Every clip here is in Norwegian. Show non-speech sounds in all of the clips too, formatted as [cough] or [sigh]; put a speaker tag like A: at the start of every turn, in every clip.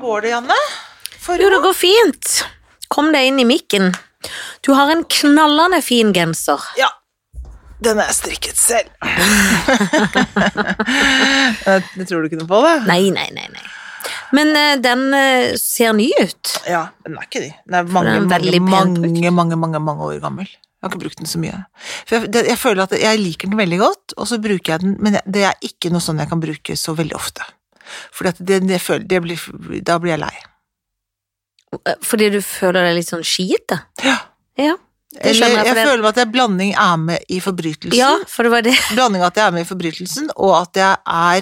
A: går det, Janne? For
B: Jo, det går fint. Kom deg inn i mikken. Du har en knallende fin genser.
A: Ja. Den er strikket
B: [laughs]
A: selv. Eh, det tror du ikke noe på, det?
B: Nei, nei, nei, nei. Men eh, den eh, ser ny ut.
A: Ja, den er ikke de. Den er mange,
B: den er
A: mange,
B: veldig pent brukt.
A: mange, mange, mange, mange år gammel. Jeg har ikke brukt den så mye. For jeg, det, jeg føler at jeg liker den veldig godt, og så bruker jeg den, men jeg- det er ikke noe sånn jeg kan bruke så veldig ofte. Fordi at det, det, føler, det blir, da blir jeg lei.
B: Eh, Fordi du føler deg litt sånn skite.
A: Ja.
B: Ja. Det
A: Eller
B: skjønner
A: jeg,
B: jeg, for det-
A: føler at jeg blanding er med i forbrytelsen.
B: Ja, for det var det.
A: Blanding av at jeg er med i forbrytelsen, og at jeg er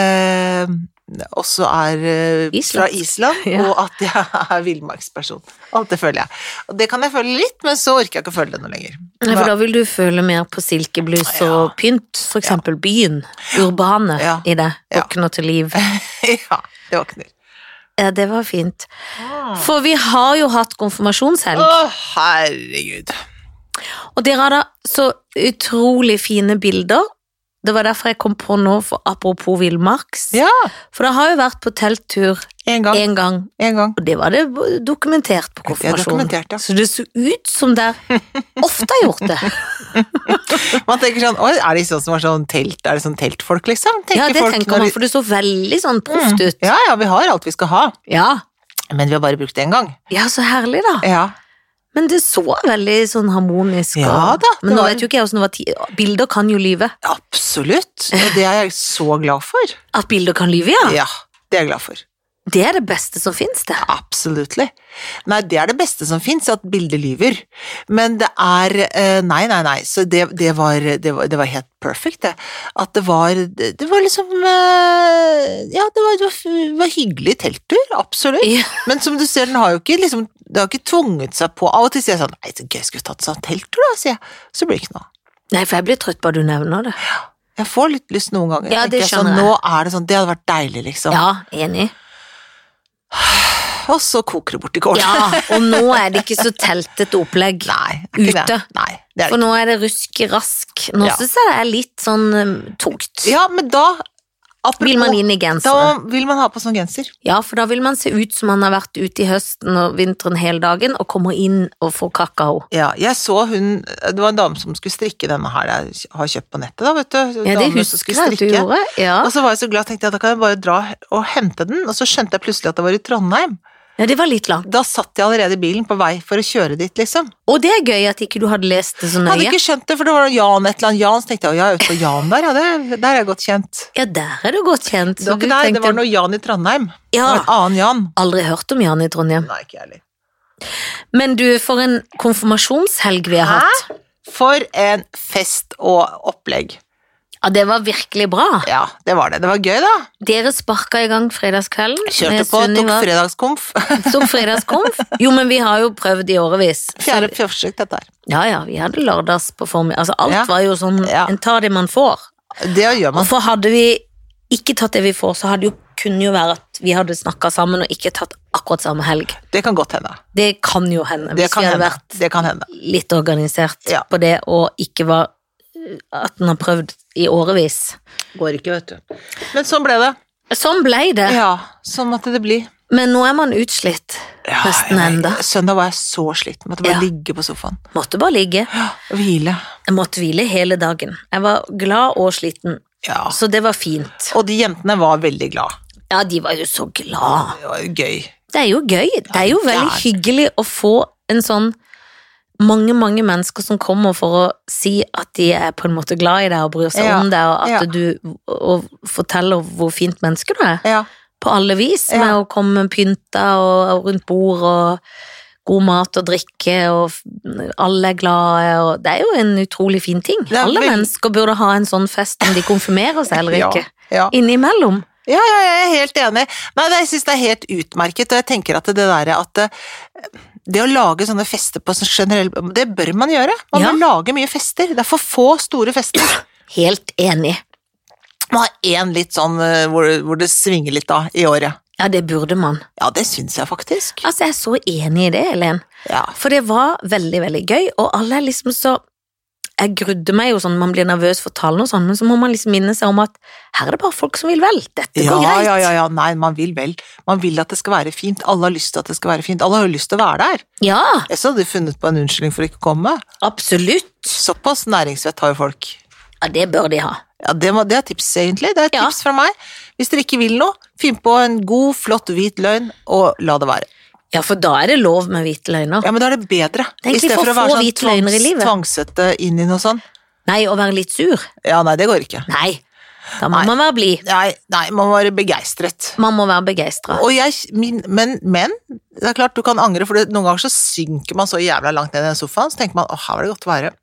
A: eh, også er eh,
B: Island.
A: fra Island,
B: [laughs] Ja.
A: og at jeg er villmarksperson. Alt det føler jeg. Og det kan jeg føle litt, men så orker jeg ikke å føle det noe lenger.
B: Nei, for da vil du føle mer på silkeblus og pynt. For eksempel byen. Urbane
A: Ja.
B: i det.
A: Ja.
B: Våkner til liv.
A: [laughs] ja, det våkner.
B: Ja, det var fint.
A: Ah.
B: For vi har jo hatt konfirmasjonshelg.
A: Å, herregud. Ah.
B: Og dere har da så utrolig fine bilder. Det var derfor jeg kom på nå, for apropos villmarks.
A: Ja,
B: For det har jo vært på telttur
A: en gang.
B: én gang,
A: En gang.
B: og det var det dokumentert
A: Det
B: på
A: er
B: konfirmasjonen.
A: dokumentert, ja.
B: Så det så ut som der ofte har gjort det.
A: [laughs] Man tenker sånn, oi, er det sånn som har sånn telt, er det sånn teltfolk, liksom?
B: Ja, det
A: folk
B: tenker
A: når
B: man,
A: de- Mm,
B: for det så veldig sånn proft ut.
A: Ja, ja, vi har alt vi skal ha,
B: Ja.
A: men vi har bare brukt det en gang.
B: ja, så herlig, da.
A: Ja,
B: Men det så veldig sånn harmonisk og-
A: Ja da, det
B: Men nå
A: var-
B: vet jo ikke jeg åssen det var ti... Bilder kan jo lyve.
A: absolutt. Og det er jeg så glad for.
B: At bilder kan lyve, ja.
A: Ja, det er jeg glad for.
B: Det er det beste som fins, det.
A: Absolutely. Nei, det er det beste som fins, at bildet lyver. Men det er eh, Nei, nei, nei. Så det, det, var, det, var, det var helt perfect, det. At det var Det det var liksom eh, Ja, det var, det var, det var hyggelig telttur, absolutt.
B: Ja.
A: Men som du ser, den har jo ikke liksom Det har ikke tvunget seg på. Av og til sier jeg sånn Nei, så gøy, skal vi tatt sånn telttur, da? sier jeg. Så blir det ikke noe.
B: Nei, for jeg blir trøtt bare du nevner det.
A: Jeg får litt lyst noen ganger.
B: Ja,
A: tenker
B: det
A: jeg
B: skjønner
A: sånn,
B: jeg.
A: Nå er det sånn Det hadde vært deilig, liksom.
B: Ja, enig.
A: Og så koker det bort i kålen.
B: Ja, og nå er det ikke så teltet opplegg.
A: [laughs] Nei, det er ikke det.
B: Ute.
A: Nei, det er det
B: For nå er det rusk rask. Nå
A: Ja.
B: synes jeg det er litt sånn um, tungt.
A: Ja, men da apropos-
B: Vil man inn i genseren?
A: Da vil man ha på sånn genser.
B: Ja, for da vil man se ut som man har vært ute i høsten og vinteren hele dagen, og kommer inn og får kakao.
A: Ja, jeg så hun Det var en dame som skulle strikke denne her jeg har kjøpt på nettet, da, vet du.
B: Ja, det
A: Dame som
B: husker
A: skulle
B: jeg at du
A: strikke.
B: gjorde. Ja.
A: Og så var jeg så glad, tenkte jeg da kan jeg bare dra og hente den. Og så skjønte jeg plutselig at det var i Trondheim.
B: ja, det var litt langt.
A: Da satt jeg allerede i bilen på vei for å kjøre dit, liksom.
B: Og det er gøy at ikke du hadde lest det så
A: Jeg hadde
B: nøye.
A: ikke skjønt det, for det var Jan et eller annet. Jan, så tenkte jeg, å, jeg er ute på Jan der, ja, det, der er jeg godt kjent.
B: Ja, der er du godt kjent.
A: Det var
B: Så du
A: ikke der, det var
B: tenkte
A: noe Jan i Trondheim. Det
B: Ja.
A: var en annen Jan.
B: aldri hørt om Jan i Trondheim.
A: Nei, ikke jeg heller.
B: Men du, for en konfirmasjonshelg vi har hatt.
A: For en fest og opplegg.
B: Ja, det var virkelig bra.
A: Ja, det var det. Det var gøy, da.
B: Dere sparka i gang fredagskvelden.
A: Kjørte
B: med
A: på, tok
B: Sunniva.
A: fredagskomf. [laughs]
B: Tok fredagskonf. Jo, men vi har jo prøvd i årevis.
A: Fjerde forsøk, dette her.
B: Ja, ja, vi hadde lørdags på formiddag. Altså, alt
A: Ja.
B: var jo sånn
A: Ja.
B: En tar det man får.
A: Det gjør man.
B: For hadde vi ikke tatt det vi får, så hadde jo kunne jo være at vi hadde snakka sammen og ikke tatt akkurat samme helg.
A: Det kan godt hende.
B: Det kan jo hende,
A: Det
B: hvis
A: kan
B: vi hadde
A: hende.
B: vært
A: Det kan hende.
B: litt organisert
A: Ja.
B: på det og ikke var øh, At en har prøvd i årevis.
A: Går ikke, vet du. Men sånn ble det.
B: Sånn blei det.
A: Ja, sånn måtte det bli.
B: Men nå er man utslitt. Nesten
A: jeg-
B: enda.
A: Søndag var jeg så sliten. Måtte bare
B: Ja.
A: ligge på sofaen
B: Måtte bare ligge.
A: og hvile.
B: Jeg måtte hvile hele dagen. Jeg var glad og sliten,
A: Ja.
B: så det var fint.
A: Og de jentene var veldig glad.
B: Ja, de var jo så glad.
A: Det var jo gøy.
B: Det er jo gøy. Det er jo
A: det
B: veldig
A: er-
B: hyggelig å få en sånn mange, mange mennesker som kommer for å si at de er på en måte glad i deg og bryr seg
A: Ja,
B: om deg, og at
A: ja.
B: du og forteller hvor fint menneske du er.
A: Ja.
B: På alle vis, med
A: Ja.
B: å komme pynta og, og rundt bord og god mat og drikke, og f- alle er glade, og det er jo en utrolig fin ting.
A: er
B: Alle
A: veldig-
B: mennesker burde ha en sånn fest om de konfirmerer seg eller
A: [laughs] Ja,
B: ikke.
A: ja.
B: Innimellom.
A: Ja, ja, jeg er helt enig. Nei, det, jeg synes det er helt utmerket, og jeg tenker at det der at eh, det å lage sånne fester på sånn generell Det bør man gjøre. Man
B: Ja.
A: må lage mye fester. Det er for få store fester.
B: Helt enig.
A: Man har én litt sånn eh, hvor, hvor det svinger litt da, i året.
B: Ja, det burde man.
A: Ja, det syns jeg faktisk.
B: Altså, jeg er så enig i det, Helen.
A: Ja.
B: For det var veldig, veldig gøy, og alle er liksom så jeg grudde meg jo sånn, man blir nervøs for tallene og sånn, men så må man liksom minne seg om at her er det bare folk som vil vel. Dette
A: Ja,
B: går greit.
A: ja, ja, ja, nei, man vil vel. Man vil at det skal være fint. Alle har lyst til at det skal være fint. Alle har jo lyst til å være der.
B: Ja,
A: Jeg så hadde de funnet på en unnskyldning for å ikke komme.
B: absolutt.
A: Såpass næringsvett har jo folk.
B: Ja, det bør de ha.
A: Ja, det, må, det er tips, egentlig. Det er et
B: Ja.
A: tips fra meg. Hvis dere ikke vil noe, finn på en god, flott, hvit løgn, og la det være.
B: Ja, for da er det lov med hvite løgner.
A: Ja, men da er det bedre.
B: Det er egentlig for få hvit løgner i livet.
A: tvangsete sånn inn i noe sånt.
B: Nei, å være litt sur.
A: Ja, nei, det går ikke.
B: Nei, da må
A: Nei.
B: man være blid.
A: Nei, nei man må være begeistret.
B: Man må være begeistra.
A: Og jeg, min, men, men det er klart du kan angre, for det, noen ganger så synker man så jævla langt ned i den sofaen, så tenker man åh, her var det godt å være.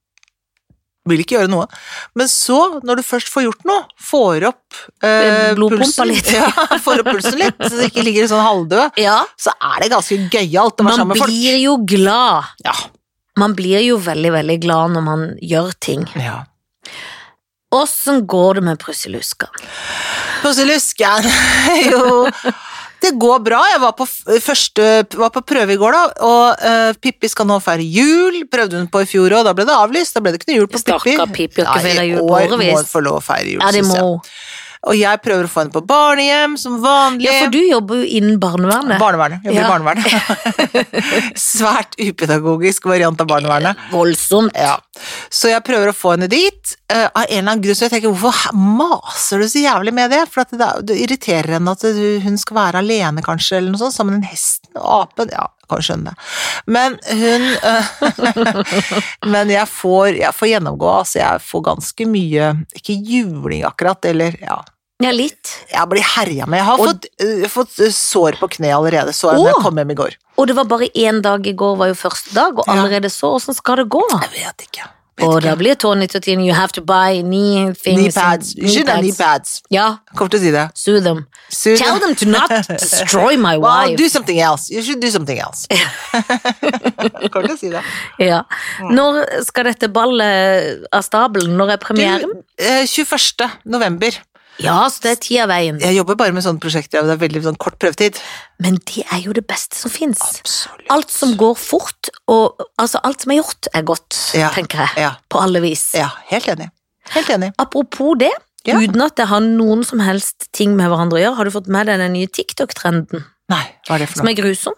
A: Vil ikke gjøre noe. Men så, når du først får gjort noe, får opp eh,
B: Blodpumpa
A: pulsen-
B: litt.
A: [laughs] Ja, får opp pulsen litt, så du ikke ligger sånn halvdød,
B: Ja,
A: så er det ganske gøyalt å være
B: man
A: sammen med folk.
B: blir jo glad.
A: Ja.
B: Man blir jo veldig, veldig glad når man gjør ting.
A: ja.
B: Åssen går det med Prusseluskene?
A: Prosilusken [laughs] Jo Det går bra. Jeg var på, f- første, var på prøve i går, da, og eh, Pippi skal nå feire jul. Prøvde hun på i fjor òg, da ble det avlyst. Da ble det ikke noe jul på
B: Stakkar
A: Pippi.
B: Pippi, har ikke
A: Nei,
B: feiret
A: i
B: jul på
A: år må
B: årevis.
A: hun få lov å feire jul,
B: Ja, det
A: synes jeg.
B: må
A: Og jeg prøver å få henne på barnehjem som vanlig.
B: Ja, for du jobber jo innen barnevernet.
A: Barnevernet. Jobber i
B: Ja. [laughs]
A: barnevernet. Svært upedagogisk variant av barnevernet.
B: Voldsomt.
A: Ja. Så jeg prøver å få henne dit. eh, av en eller annen grunn så jeg tenker hvorfor h- maser du så jævlig med det? For at det, er- det irriterer henne at du, hun skal være alene, kanskje, eller noe sånt, sammen med den hesten og apen. Ja, jeg kan skjønne det. Men hun eh, [laughs] Men jeg får, jeg får gjennomgå, altså. Jeg får ganske mye Ikke juling, akkurat, eller ja.
B: Ja, litt.
A: Jeg blir herja med. Jeg har
B: Og-
A: fått, eh, fått sår på kneet allerede, så jeg da jeg
B: Å!
A: kom hjem i går.
B: Og det var bare én dag i går, var jo første dag, og
A: Ja.
B: allerede så. Åssen skal det gå?
A: Jeg vet ikke. Vet
B: Og
A: ikke.
B: da blir Tony til Tine, you have to buy knee things.
A: Knee pads.
B: Knee
A: Unnskyld, det er knee
B: pads.
A: pads.
B: Ja,
A: Jeg kommer til å si det.
B: sue them.
A: Soon-
B: Tell them
A: [laughs]
B: to not destroy my
A: Well,
B: wife.
A: do something else. You should do something else. [laughs] kan du si det?
B: Ja.
A: Mm.
B: Når skal dette ballet eh, av stabelen? Når er
A: Du,
B: premieren?
A: eh, 21. november.
B: Ja, så det er ti av veien.
A: Jeg jobber bare med sånne prosjekter, og det er veldig sånn kort prøvetid.
B: Men det er jo det beste som fins.
A: Absolutt.
B: Alt som går fort, og altså alt som er gjort, er godt,
A: Ja.
B: tenker jeg.
A: Ja,
B: På alle vis.
A: ja helt enig. Helt enig.
B: Apropos det,
A: Ja.
B: uten at det har noen som helst ting med hverandre å gjøre, har du fått med deg den nye TikTok-trenden,
A: Nei, hva er det for
B: som
A: noe?
B: er grusom?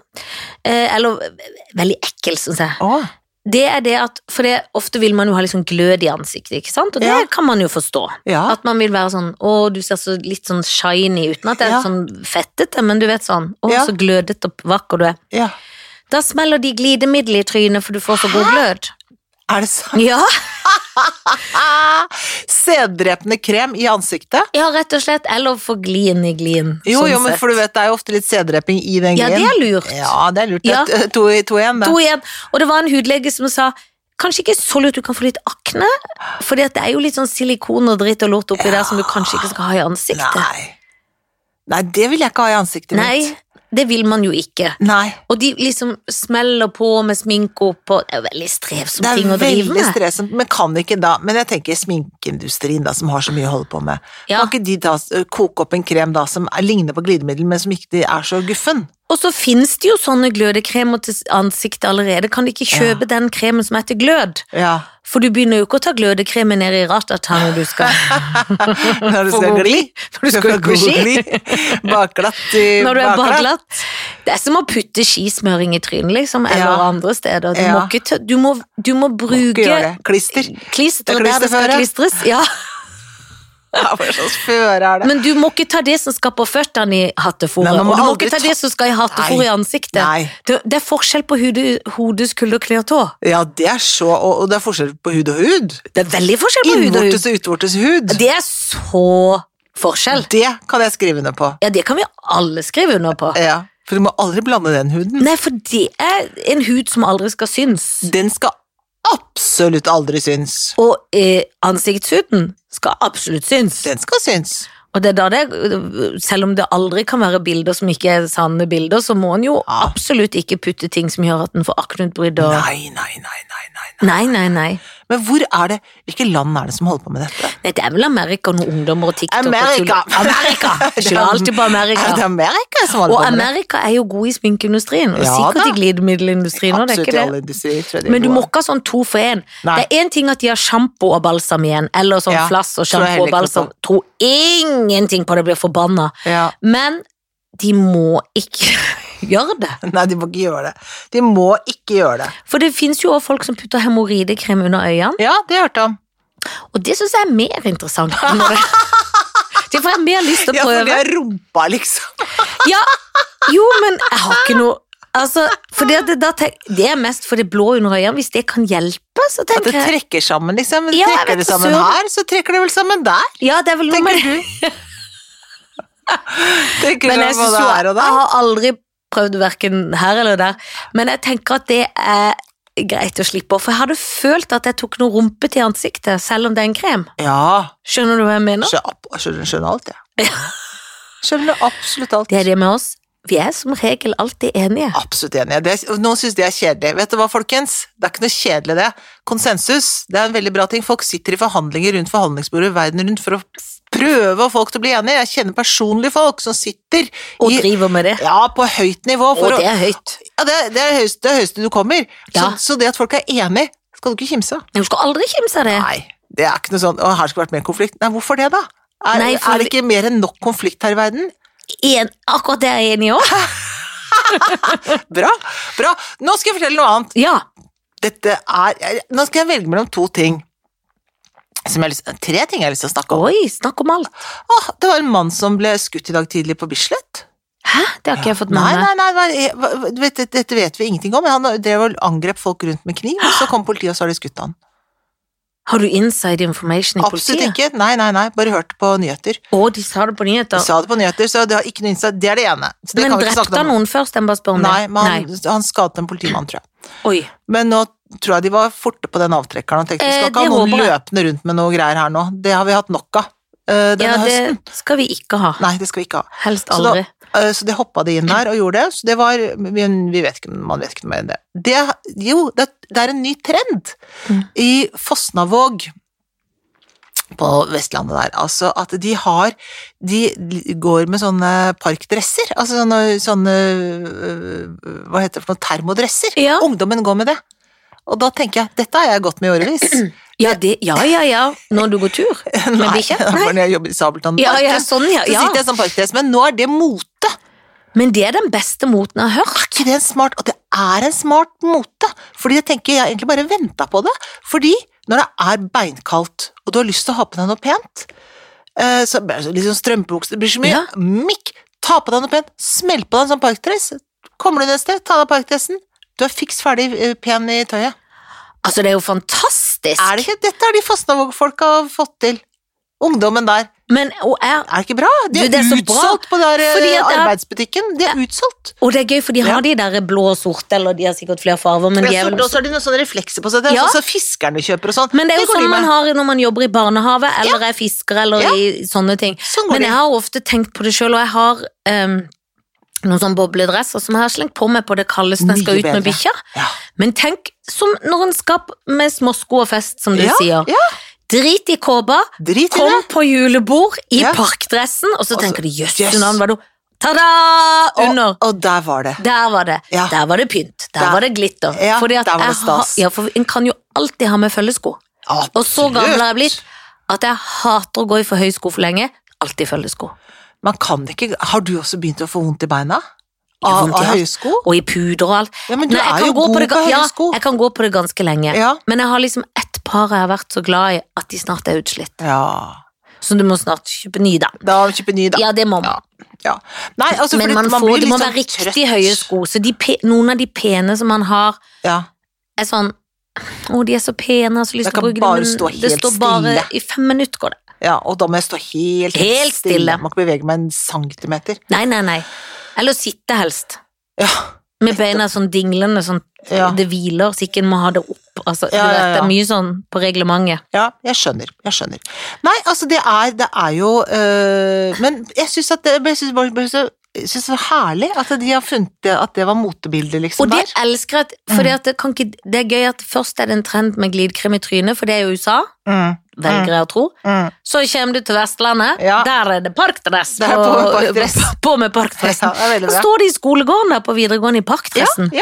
B: Eh, eller ve- veldig ekkel, syns jeg.
A: Å,
B: Det er det at, for det, ofte vil man jo ha litt sånn glød i ansiktet, ikke sant? Og det
A: Ja.
B: kan man jo forstå.
A: ja.
B: At man vil være sånn, å, du ser så litt sånn shiny, uten at det er
A: Ja.
B: sånn fettete, men du vet sånn, å,
A: Ja.
B: så glødete og vakker du er.
A: ja.
B: Da smeller de glidemiddel i trynet, for du får så god glød.
A: Er det sant?
B: Ja,
A: Ah, Sæddrepende krem i ansiktet?
B: ja rett og slett. Eller for glien i glien.
A: Jo,
B: sånn
A: jo, men
B: sett.
A: for du vet, det er jo ofte litt sæddreping i den
B: Ja, det
A: glien.
B: er lurt.
A: Ja, det er lurt. Det
B: Ja.
A: er to i to igjen, det.
B: To igjen. Og det var en hudlege som sa Kanskje ikke så lurt du kan få litt akne, for det er jo litt sånn silikon og dritt og lort oppi der som du kanskje ikke skal ha i ansiktet. Nei,
A: Nei. Nei, det vil jeg ikke ha i ansiktet mitt.
B: det vil man jo ikke.
A: Nei.
B: Og de liksom smeller på med sminke opp og Det er jo veldig strevsom
A: Det
B: ting å
A: er
B: drive
A: veldig
B: med.
A: stressende, men kan ikke da Men jeg tenker sminkeindustrien, da, som har så mye å holde på med.
B: Ja.
A: Kan ikke de da eh, koke opp en krem da som er- ligner på glidemiddel, men som ikke de er så guffen?
B: Og så finnes det jo sånne glødekremer til ansiktet allerede. Kan du ikke kjøpe den kremen som heter glød?
A: Ja.
B: For du begynner jo ikke å ta glødekremen ned i ratata når
A: [laughs]
B: du skal
A: [laughs] Når du
B: For
A: skal
B: god
A: gli.
B: For du skal
A: For
B: på
A: god
B: ski.
A: gli. [laughs] Bakglatt i
B: [laughs] Når du er badelatt. Det er som å putte skismøring i trynet, liksom, eller
A: Ja.
B: andre steder. Du, må,
A: Ja.
B: ikke, tø- du, må, du må
A: Ikke
B: bruke
A: gjør det. Klister.
B: klister
A: Det er
B: der det skal
A: klisterføre.
B: klistres. Ja.
A: Ja, hva slags føre er det?
B: Men du må ikke ta det som skal på føttene i hattefòret,
A: Nei, man
B: og
A: må
B: du må
A: aldri
B: ikke ta
A: ta-
B: det som skal i hattefòret
A: Nei.
B: i ansiktet.
A: Nei.
B: Det, det er forskjell på hud, hodeskulder, kne og tå.
A: Ja, det er så Og, og det er forskjell på hud og hud.
B: Det er veldig forskjell på hud og hud.
A: Innvortes og utvortes hud.
B: Det er så forskjell.
A: Det kan jeg skrive under på.
B: Ja, det kan vi alle skrive under på.
A: Ja. For du må aldri blande den huden.
B: Nei, for det er en hud som aldri skal synes.
A: Den skal absolutt aldri synes.
B: Og eh, ansiktshuden skal absolutt synes.
A: Den skal synes.
B: Og det er da det, selv om det aldri kan være bilder som ikke er sanne bilder, så må en jo
A: Ja.
B: absolutt ikke putte ting som gjør at en får akneutbrudd og
A: Nei, nei, nei, nei, nei.
B: Nei, nei, nei.
A: Men hvor er det Hvilke land er det som holder på med dette?
B: Nei, det er vel Amerika og noen ungdommer og TikTok
A: Amerika!
B: og tull.
A: [laughs]
B: Amerika! Skylder alltid på Amerika.
A: Er det Amerika som holder
B: Og
A: på med det?
B: Amerika er jo god i sminkindustrien, og
A: Ja
B: sikkert
A: da.
B: i glidemiddelindustrien òg, det er
A: Absolutt i
B: ikke
A: alle
B: det.
A: industrier, tror jeg de er
B: Men du
A: gode.
B: må ikke ha sånn to for én. Det
A: Nei.
B: er én ting at de har sjampo og balsam igjen, eller sånn
A: Ja,
B: flass
A: tror jeg
B: og sjampo og
A: heller ikke
B: balsam.
A: noe
B: Tro ingenting på det, blir forbanna.
A: ja. [laughs]
B: Men de må ikke [laughs] gjøre det.
A: Nei, de må ikke gjøre det. De må ikke gjøre det.
B: For det fins jo også folk som putter hemoroidekrem under øynene,
A: Ja, det har jeg hørt om.
B: og det syns jeg er mer
A: [laughs]
B: interessant. Når det, det får jeg mer lyst til
A: Ja,
B: å
A: for de
B: prøve.
A: har rumpa, liksom.
B: Ja, jo, men jeg har ikke noe Altså, for det, at det, da tenk, det er mest for det blå under øynene. Hvis det kan hjelpe, så
A: At det
B: tenker jeg
A: trekker sammen, liksom.
B: Ja, jeg
A: trekker
B: vet
A: det sammen
B: søren.
A: her, så trekker det vel sammen der.
B: Ja, det er vel noe med
A: Tenker du? Tenker
B: Men
A: du
B: jeg,
A: på
B: synes
A: det
B: jo,
A: her og
B: jeg
A: der?
B: har aldri prøvd verken her eller der. Men jeg tenker at det er greit å slippe. For jeg hadde følt at jeg tok noe rumpete i ansiktet, selv om det er en krem.
A: Ja.
B: Skjønner du hva jeg mener?
A: skjø- opp- Skjønner, skjønner alt, jeg. [laughs] Skjønner absolutt alt.
B: Det er det med oss. Vi er som regel alltid enige.
A: Absolutt enig. Det, er- noen syns det er kjedelig. Vet du hva, folkens? Det er ikke noe kjedelig, det. Konsensus det er en veldig bra ting. Folk sitter i forhandlinger rundt forhandlingsbordet verden rundt for å prøve å få folk til å bli enige. Jeg kjenner personlig folk som sitter
B: Og
A: i,
B: driver med det.
A: ja, på høyt nivå.
B: Og
A: For
B: det
A: å,
B: er høyt.
A: ja, det, er- det er det høyeste, det er det høyeste du kommer.
B: Ja.
A: Så, så det at folk er enige, skal du ikke kimse av.
B: Du skal aldri kimse av det.
A: Nei, det er ikke noe sånn 'Å, her skulle vært mer konflikt'. Nei, hvorfor det, da? Er,
B: Nei, for
A: er det ikke mer enn nok konflikt her i verden?
B: En, akkurat det er jeg enig i òg.
A: Bra. bra. Nå skal jeg fortelle noe annet.
B: Ja.
A: Dette er jeg- Nå skal jeg velge mellom to ting. Som jeg har lyst, tre ting jeg har lyst til å snakke om.
B: Oi, snakk om alt.
A: Åh, det var en mann som ble skutt i dag tidlig på Bislett.
B: Hæ? Det har ikke jeg fått med
A: Nei,
B: meg.
A: nei, nei, nei hva- hva- du vet, dette- dette vet vi ingenting om, men han drev og angrep folk rundt med kniv, og så kom politiet, og så har de skutt han.
B: Har du inside information i
A: Absolutt
B: politiet?
A: ikke. Nei, nei, nei. Bare hørt på nyheter.
B: Å, de sa det på
A: De
B: nyheter.
A: sa det på nyheter, så det har ikke noe innsats. Det er det ene. Så det
B: Men
A: kan vi ikke snakke
B: drepte han
A: om.
B: noen først? Jeg bare spør om
A: Nei,
B: det.
A: men han, han skadet en politimann, tror jeg.
B: Oi.
A: Men nå tror jeg de var forte på den avtrekkeren og tenkte vi
B: Eh,
A: skal ikke ha
B: det
A: noen
B: håper jeg.
A: løpende rundt med noe greier her nå. Det har vi hatt nok av eh, denne
B: Ja,
A: høsten.
B: det skal vi ikke ha.
A: Nei, det skal vi ikke ha.
B: Helst
A: Så da-
B: aldri.
A: Eh, Så de hoppa det inn der og gjorde det. Så det var Men vi vet ikke, man vet ikke noe mer enn det. det jo, det, det er en ny trend
B: Mm.
A: i Fosnavåg på Vestlandet der. Altså at de har De går med sånne parkdresser. Altså sånne, sånne øh, Hva heter det for noe? Termodresser.
B: Ja.
A: Ungdommen går med det. Og da tenker jeg dette har jeg gått med i årevis.
B: Ja, det, ja, ja, ja. Når du går tur
A: [laughs]
B: med bikkja.
A: det var
B: Nei.
A: når jeg jobber i Sabeltann
B: Ja, ja,
A: Parken,
B: sånn, ja.
A: så
B: ja.
A: sitter jeg som parkdress. Men nå er det mote.
B: Men det er den beste moten jeg har hørt.
A: er ikke det en smart Og det er en smart mote! Fordi jeg tenker, jeg har egentlig bare venta på det. Fordi når det er beinkaldt, og du har lyst til å ha på deg noe pent eh, så blir det så- Liksom strømpebukser det blir så mye.
B: Ja.
A: Mikk! Ta på deg noe pent. Smell på deg en sånn parkdress. Kommer du ned et sted, ta av deg parkdressen. Du er fiks ferdig eh, pen i tøyet.
B: Altså, det er jo fantastisk.
A: Er det ikke, dette har de Fosnavåg-folka fått til. Ungdommen der.
B: Men, og, er,
A: Er det ikke bra? De
B: Du,
A: er,
B: det er så bra,
A: utsolgt på den der,
B: fordi
A: eh,
B: at det er-
A: arbeidsbutikken. De er utsolgt.
B: og det er gøy, for de
A: Ja.
B: har de der blå og sorte, eller de har sikkert flere farver, men de
A: Ja, så-
B: er vel
A: Og så har de noen sånne reflekser på seg. Det er
B: Ja.
A: sånn som fiskerne kjøper og sånn.
B: Men det er jo
A: går de
B: sånn man
A: med.
B: har når man jobber i barnehave, eller er fisker, eller
A: Ja.
B: i sånne ting.
A: Sånn går
B: Men
A: de.
B: jeg har ofte tenkt på det sjøl, og jeg har em, noen sånne bobledresser som jeg har slengt på meg på det kaldeste når jeg skal
A: Mye
B: ut med
A: bedre.
B: bikkja.
A: Ja.
B: Men tenk som når en skal med småsko og fest, som du
A: Ja,
B: sier.
A: ja.
B: Drit i kåpa,
A: Drit i
B: kom
A: det.
B: på julebord i
A: Ja.
B: parkdressen, og så
A: Og så-
B: tenker de jøss,
A: Yes.
B: yes. navn var det Ta-da! Under.
A: Og, og der var det.
B: Der var det.
A: Ja.
B: Der var det pynt. Der,
A: Der.
B: var det glitter.
A: Ja,
B: Fordi at
A: der var det
B: jeg har-
A: stas.
B: ja, for en kan jo alltid ha med følgesko.
A: Absolutt.
B: Og så gammel har jeg blitt at jeg hater å gå i for høye sko for lenge. Alltid følgesko.
A: Man kan ikke Har du også begynt å få vondt i beina?
B: Jeg har
A: Av,
B: vondt i
A: av
B: alt.
A: høye sko?
B: Og i puder og alt.
A: Ja, men du
B: Nei, jeg
A: er
B: kan
A: jo
B: gå
A: god
B: det ga-
A: på høye
B: ja,
A: sko.
B: Jeg kan gå på det ganske lenge.
A: Ja.
B: Men jeg har liksom ett par jeg har vært så glad i at de snart er utslitt.
A: Ja.
B: Så du må snart kjøpe ny, da.
A: Da må du kjøpe ny, da.
B: Ja, det må man.
A: Ja. Ja. Nei, altså,
B: men
A: fordi
B: man
A: man
B: får,
A: blir
B: det
A: litt
B: må
A: sånn
B: være riktig
A: trøtt.
B: høye sko. Så de, pe- noen av de pene som man har,
A: Ja.
B: er sånn Å, de er så pene, jeg har så lyst
A: Jeg
B: til å
A: kan
B: bruke
A: bare
B: dem.
A: stå
B: det
A: helt
B: står bare
A: stille.
B: I fem minutter går det.
A: ja, og da må jeg stå helt,
B: Helt stille.
A: Må ikke bevege meg en centimeter.
B: Nei, nei, nei. Eller sitte helst.
A: Ja.
B: Med beina sånn dinglende, sånn
A: Ja.
B: det hviler, så ikke en må ha det opp Altså,
A: Ja,
B: du vet,
A: ja, ja.
B: Det er mye sånn på reglementet.
A: Ja, jeg skjønner. Jeg skjønner. Nei, altså, det er, det er jo øh, Men jeg syns at det jeg synes, bare- bare så- jeg synes det var herlig at de har funnet det, at det var motebildet, liksom.
B: Og det
A: der.
B: elsker jeg, at-
A: Mm.
B: fordi at det, kan ikke, det er gøy at først er det en trend med glidkrem i trynet, for det er jo USA,
A: Mm,
B: velger jeg å tro.
A: mm.
B: Så kommer du til Vestlandet,
A: Ja.
B: der er det parkdress.
A: Der er på med parkdress.
B: [laughs] på med
A: Ja,
B: parkdressen.
A: det er veldig
B: Da
A: bra.
B: står de i skolegården der på videregående i parkdressen.
A: Ja,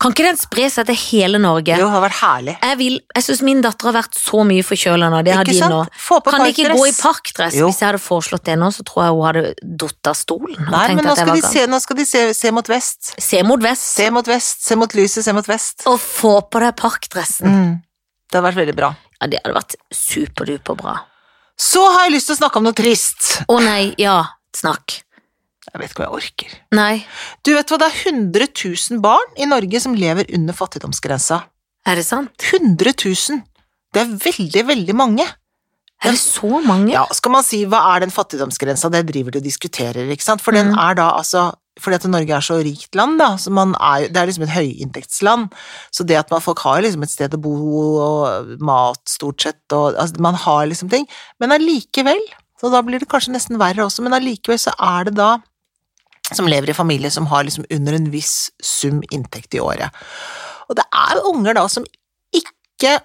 B: Kan ikke den spre seg til hele Norge?
A: Jo, det har vært herlig.
B: Jeg, vil- jeg syns min datter har vært så mye forkjøla nå. Det har
A: Ikke
B: de
A: sant?
B: nå.
A: Få på
B: Kan de ikke
A: parkdress.
B: gå i parkdress?
A: Jo.
B: Hvis jeg hadde foreslått det nå, så tror jeg hun hadde datt av stolen. og
A: Nei,
B: tenkt
A: men nå
B: at jeg
A: skal
B: var
A: de,
B: gal.
A: se, nå skal de se, se mot vest.
B: Se mot vest
A: Se mot vest, se mot lyset, se mot vest.
B: og få på deg parkdressen.
A: Mm. Det har vært veldig bra.
B: Ja, det hadde vært superduper bra.
A: Så har jeg lyst til å snakke om noe trist.
B: Å nei, ja, snakk.
A: Jeg vet ikke om jeg orker.
B: Nei,
A: Du vet hva, det er 100 000 barn i Norge som lever under fattigdomsgrensa.
B: er det sant?
A: 100 000! Det er veldig, veldig mange.
B: Er det så mange?
A: Ja, skal man si hva er den fattigdomsgrensa, det driver de og diskuterer, ikke sant, for den
B: Mm.
A: er da altså fordi at Norge er så rikt land, da, så man er, det er liksom et høyinntektsland. Så det at man, folk har liksom et sted å bo og mat, stort sett, og altså, man har liksom ting. Men allikevel, så da blir det kanskje nesten verre også, men allikevel så er det da som lever i familie som har liksom under en viss sum inntekt i året. Og det er jo unger da som ikke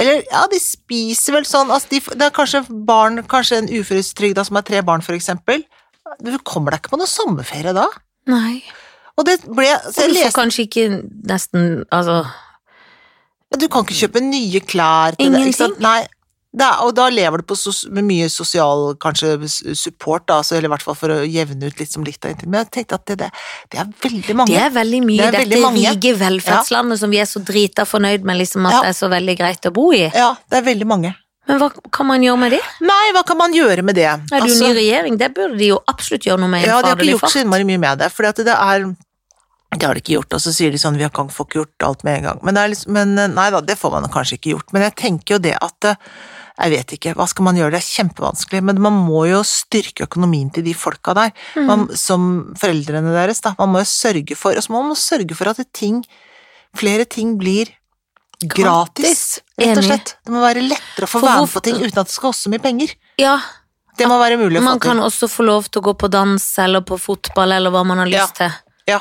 A: eller ja, de spiser vel sånn altså de, Det er kanskje barn, kanskje en uføretrygda som har tre barn, for eksempel. Du kommer deg ikke på noen sommerferie da?
B: Nei.
A: Og det ble
B: Og
A: så jeg
B: du får
A: leste,
B: kanskje ikke nesten Altså,
A: Du kan ikke kjøpe nye klær til deg, ikke sant?
B: Ingenting?
A: Nei. Det er, og da lever du på sos, med mye sosial kanskje s- support, da, så, eller i hvert fall for å jevne ut litt som litt av inntekt. Men jeg tenkte at det, det, det er veldig mange.
B: det er veldig mye i
A: Det er veldig
B: dette
A: mange.
B: rike velferdslandet som vi er så drita fornøyd med liksom at
A: Ja.
B: det er så veldig greit å bo i.
A: Ja, det er veldig mange.
B: Men hva kan man gjøre med det?
A: Nei, hva kan man gjøre med det?
B: Er det jo
A: Altså-
B: ny regjering? Det burde de jo absolutt gjøre noe med. i en
A: Ja, de har ikke
B: faderlig
A: gjort så
B: fart.
A: innmari mye med det, fordi at det er det har de ikke gjort, og så sier de sånn vi har ikke får ikke gjort alt med en gang. Men, det er liksom, men eh, nei da, det får man kanskje ikke gjort. Men jeg tenker jo det at eh, jeg vet ikke, hva skal man gjøre, det er kjempevanskelig, men man må jo styrke økonomien til de folka der, man,
B: Mm.
A: som foreldrene deres, da. Man må jo sørge for, og så må man sørge for at ting, flere ting blir gratis,
B: Gratis,
A: rett
B: enig.
A: og slett. Det må være lettere å få
B: For
A: være med
B: hvorfor-
A: på ting uten at det skal koste så mye penger.
B: Ja,
A: Det må være mulig å få
B: man kan
A: til.
B: også få lov til å gå på dans eller på fotball eller hva man har
A: Ja.
B: lyst til.
A: Ja.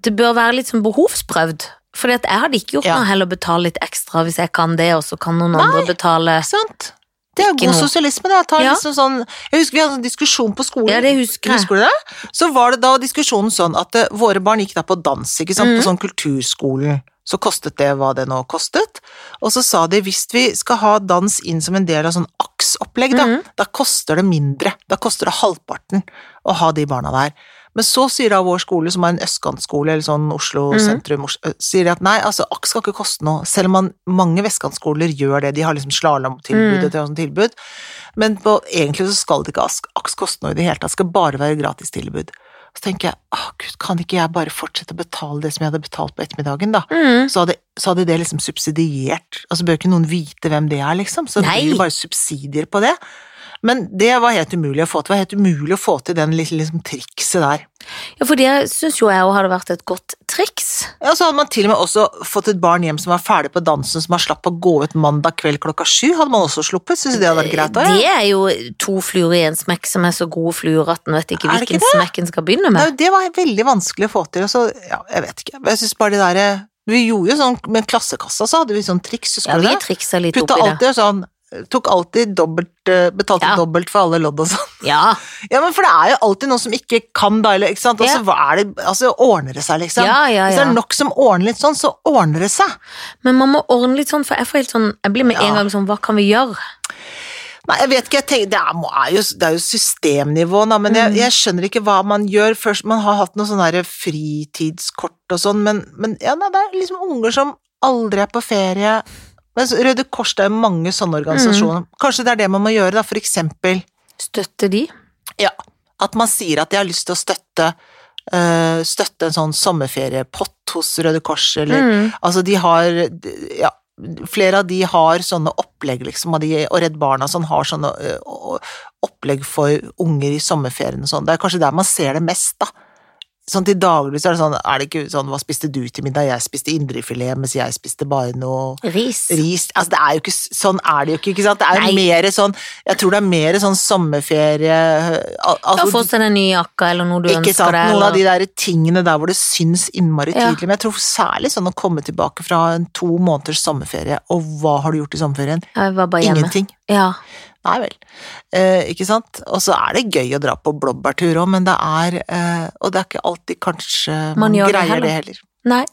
B: Det bør være litt sånn behovsprøvd. For jeg hadde ikke gjort
A: Ja.
B: noe heller å betale litt ekstra hvis jeg kan det, og så kan noen andre betale
A: Ikke sant? Det er
B: Eh, Ikke
A: god
B: noe.
A: sosialisme. Det. Jeg, tar
B: Ja.
A: liksom sånn, jeg husker vi hadde en diskusjon på skolen.
B: Ja, det husker jeg.
A: Husker du det? Så var det da diskusjonen sånn at eh, våre barn gikk da på dans, ikke sant, på
B: Mm.
A: sånn kulturskolen. Så kostet det hva det nå kostet. Og så sa de hvis vi skal ha dans inn som en del av sånn aksopplegg, da,
B: Mm.
A: da koster det mindre. Da koster det halvparten å ha de barna der. Men så sier da vår skole, som er en østkantskole, eller sånn Oslo sentrum, Os- ø, sier de at nei, altså AKS skal ikke koste noe, selv om man, mange vestkantskoler gjør det, de har liksom slalåmtilbud
B: Mm.
A: og sånn tilbud, men på, egentlig så skal det ikke AKS AKS koste noe i det hele tatt, det skal bare være gratistilbud. Så tenker jeg, åh gud, kan ikke jeg bare fortsette å betale det som jeg hadde betalt på ettermiddagen da?
B: mm.
A: Så hadde, så hadde det liksom subsidiert, altså bør ikke noen vite hvem det er liksom, så
B: Nei.
A: blir det bare subsidier på det. Men det var helt umulig å få til, det var helt umulig å få til den lille liksom, trikset der.
B: Ja, for det syns jo jeg òg hadde vært et godt triks.
A: Ja, så hadde man til og med også fått et barn hjem som var ferdig på dansen, som har slapp å gå ut mandag kveld klokka sju, hadde man også sluppet. Synes du det hadde vært greit òg?
B: Det er jo to fluer i en smekk som er så gode fluer at en vet ikke
A: Er det
B: hvilken
A: ikke
B: smekk en skal begynne
A: Ja.
B: med.
A: Det var veldig vanskelig å få til, og så ja, jeg vet ikke. Jeg synes bare det derre Vi gjorde jo sånn med klassekassa, så hadde vi sånn triks,
B: Ja,
A: husker du
B: vi
A: det?
B: triksa litt
A: Putta
B: oppi det.
A: alltid sånn Tok alltid dobbelt eh, Betalte
B: Ja.
A: dobbelt for alle lodd og sånn. [laughs]
B: Ja,
A: Ja, men for det er jo alltid noen som ikke kan da, eller ikke sant. Og så
B: Ja.
A: hva er det Altså, ordner det seg, liksom.
B: ja, ja.
A: Hvis det
B: ja.
A: er nok som ordner litt sånn, så ordner det seg.
B: Men man må ordne litt sånn, for jeg får helt sånn Jeg blir med
A: Ja.
B: en gang sånn, hva kan vi gjøre?
A: Nei, jeg vet ikke, jeg tenker, det, er, må- er jo, det er jo systemnivå, da, men jeg, jeg skjønner ikke hva man gjør først. Man har hatt noen sånne der fritidskort og sånn, men, men ja, nei, det er liksom unger som aldri er på ferie. Men så Røde Kors, det er jo mange sånne organisasjoner. Kanskje det er det man må gjøre, da, for eksempel
B: Støtte de?
A: ja, at man sier at de har lyst til å støtte, eh, støtte en sånn sommerferiepott hos Røde Kors, eller
B: Mm.
A: Altså, de har d- Ja. Flere av de har sånne opplegg, liksom, og, de, og Redd Barna sånn, har sånne ø, ø, opplegg for unger i sommerferien og sånn. Det er kanskje der man ser det mest, da. Sånn til daglig så er det sånn, er det ikke sånn Hva spiste du til middag? Jeg spiste indrefilet, mens jeg spiste bare noe
B: Ris.
A: ris Altså, det er jo ikke s- Sånn er det jo ikke, ikke sant? Det er
B: Nei.
A: jo mer sånn Jeg tror det er mer sånn sommerferie al
B: Ja,
A: altså,
B: få seg den nye jakka eller noe du
A: Ikke
B: ønsker
A: sant?
B: deg.
A: Noen
B: eller-
A: av de der tingene der hvor det syns innmari
B: Ja.
A: tydelig. Men jeg tror særlig sånn å komme tilbake fra en to måneders sommerferie, og hva har du gjort i sommerferien?
B: Jeg var bare hjemme.
A: Ingenting.
B: Ja.
A: Nei vel. Eh, ikke sant? Og så er det gøy å dra på blåbærtur òg, men det er eh, Og det er ikke alltid kanskje man,
B: Man gjør det
A: greier
B: heller.
A: det heller.
B: Nei.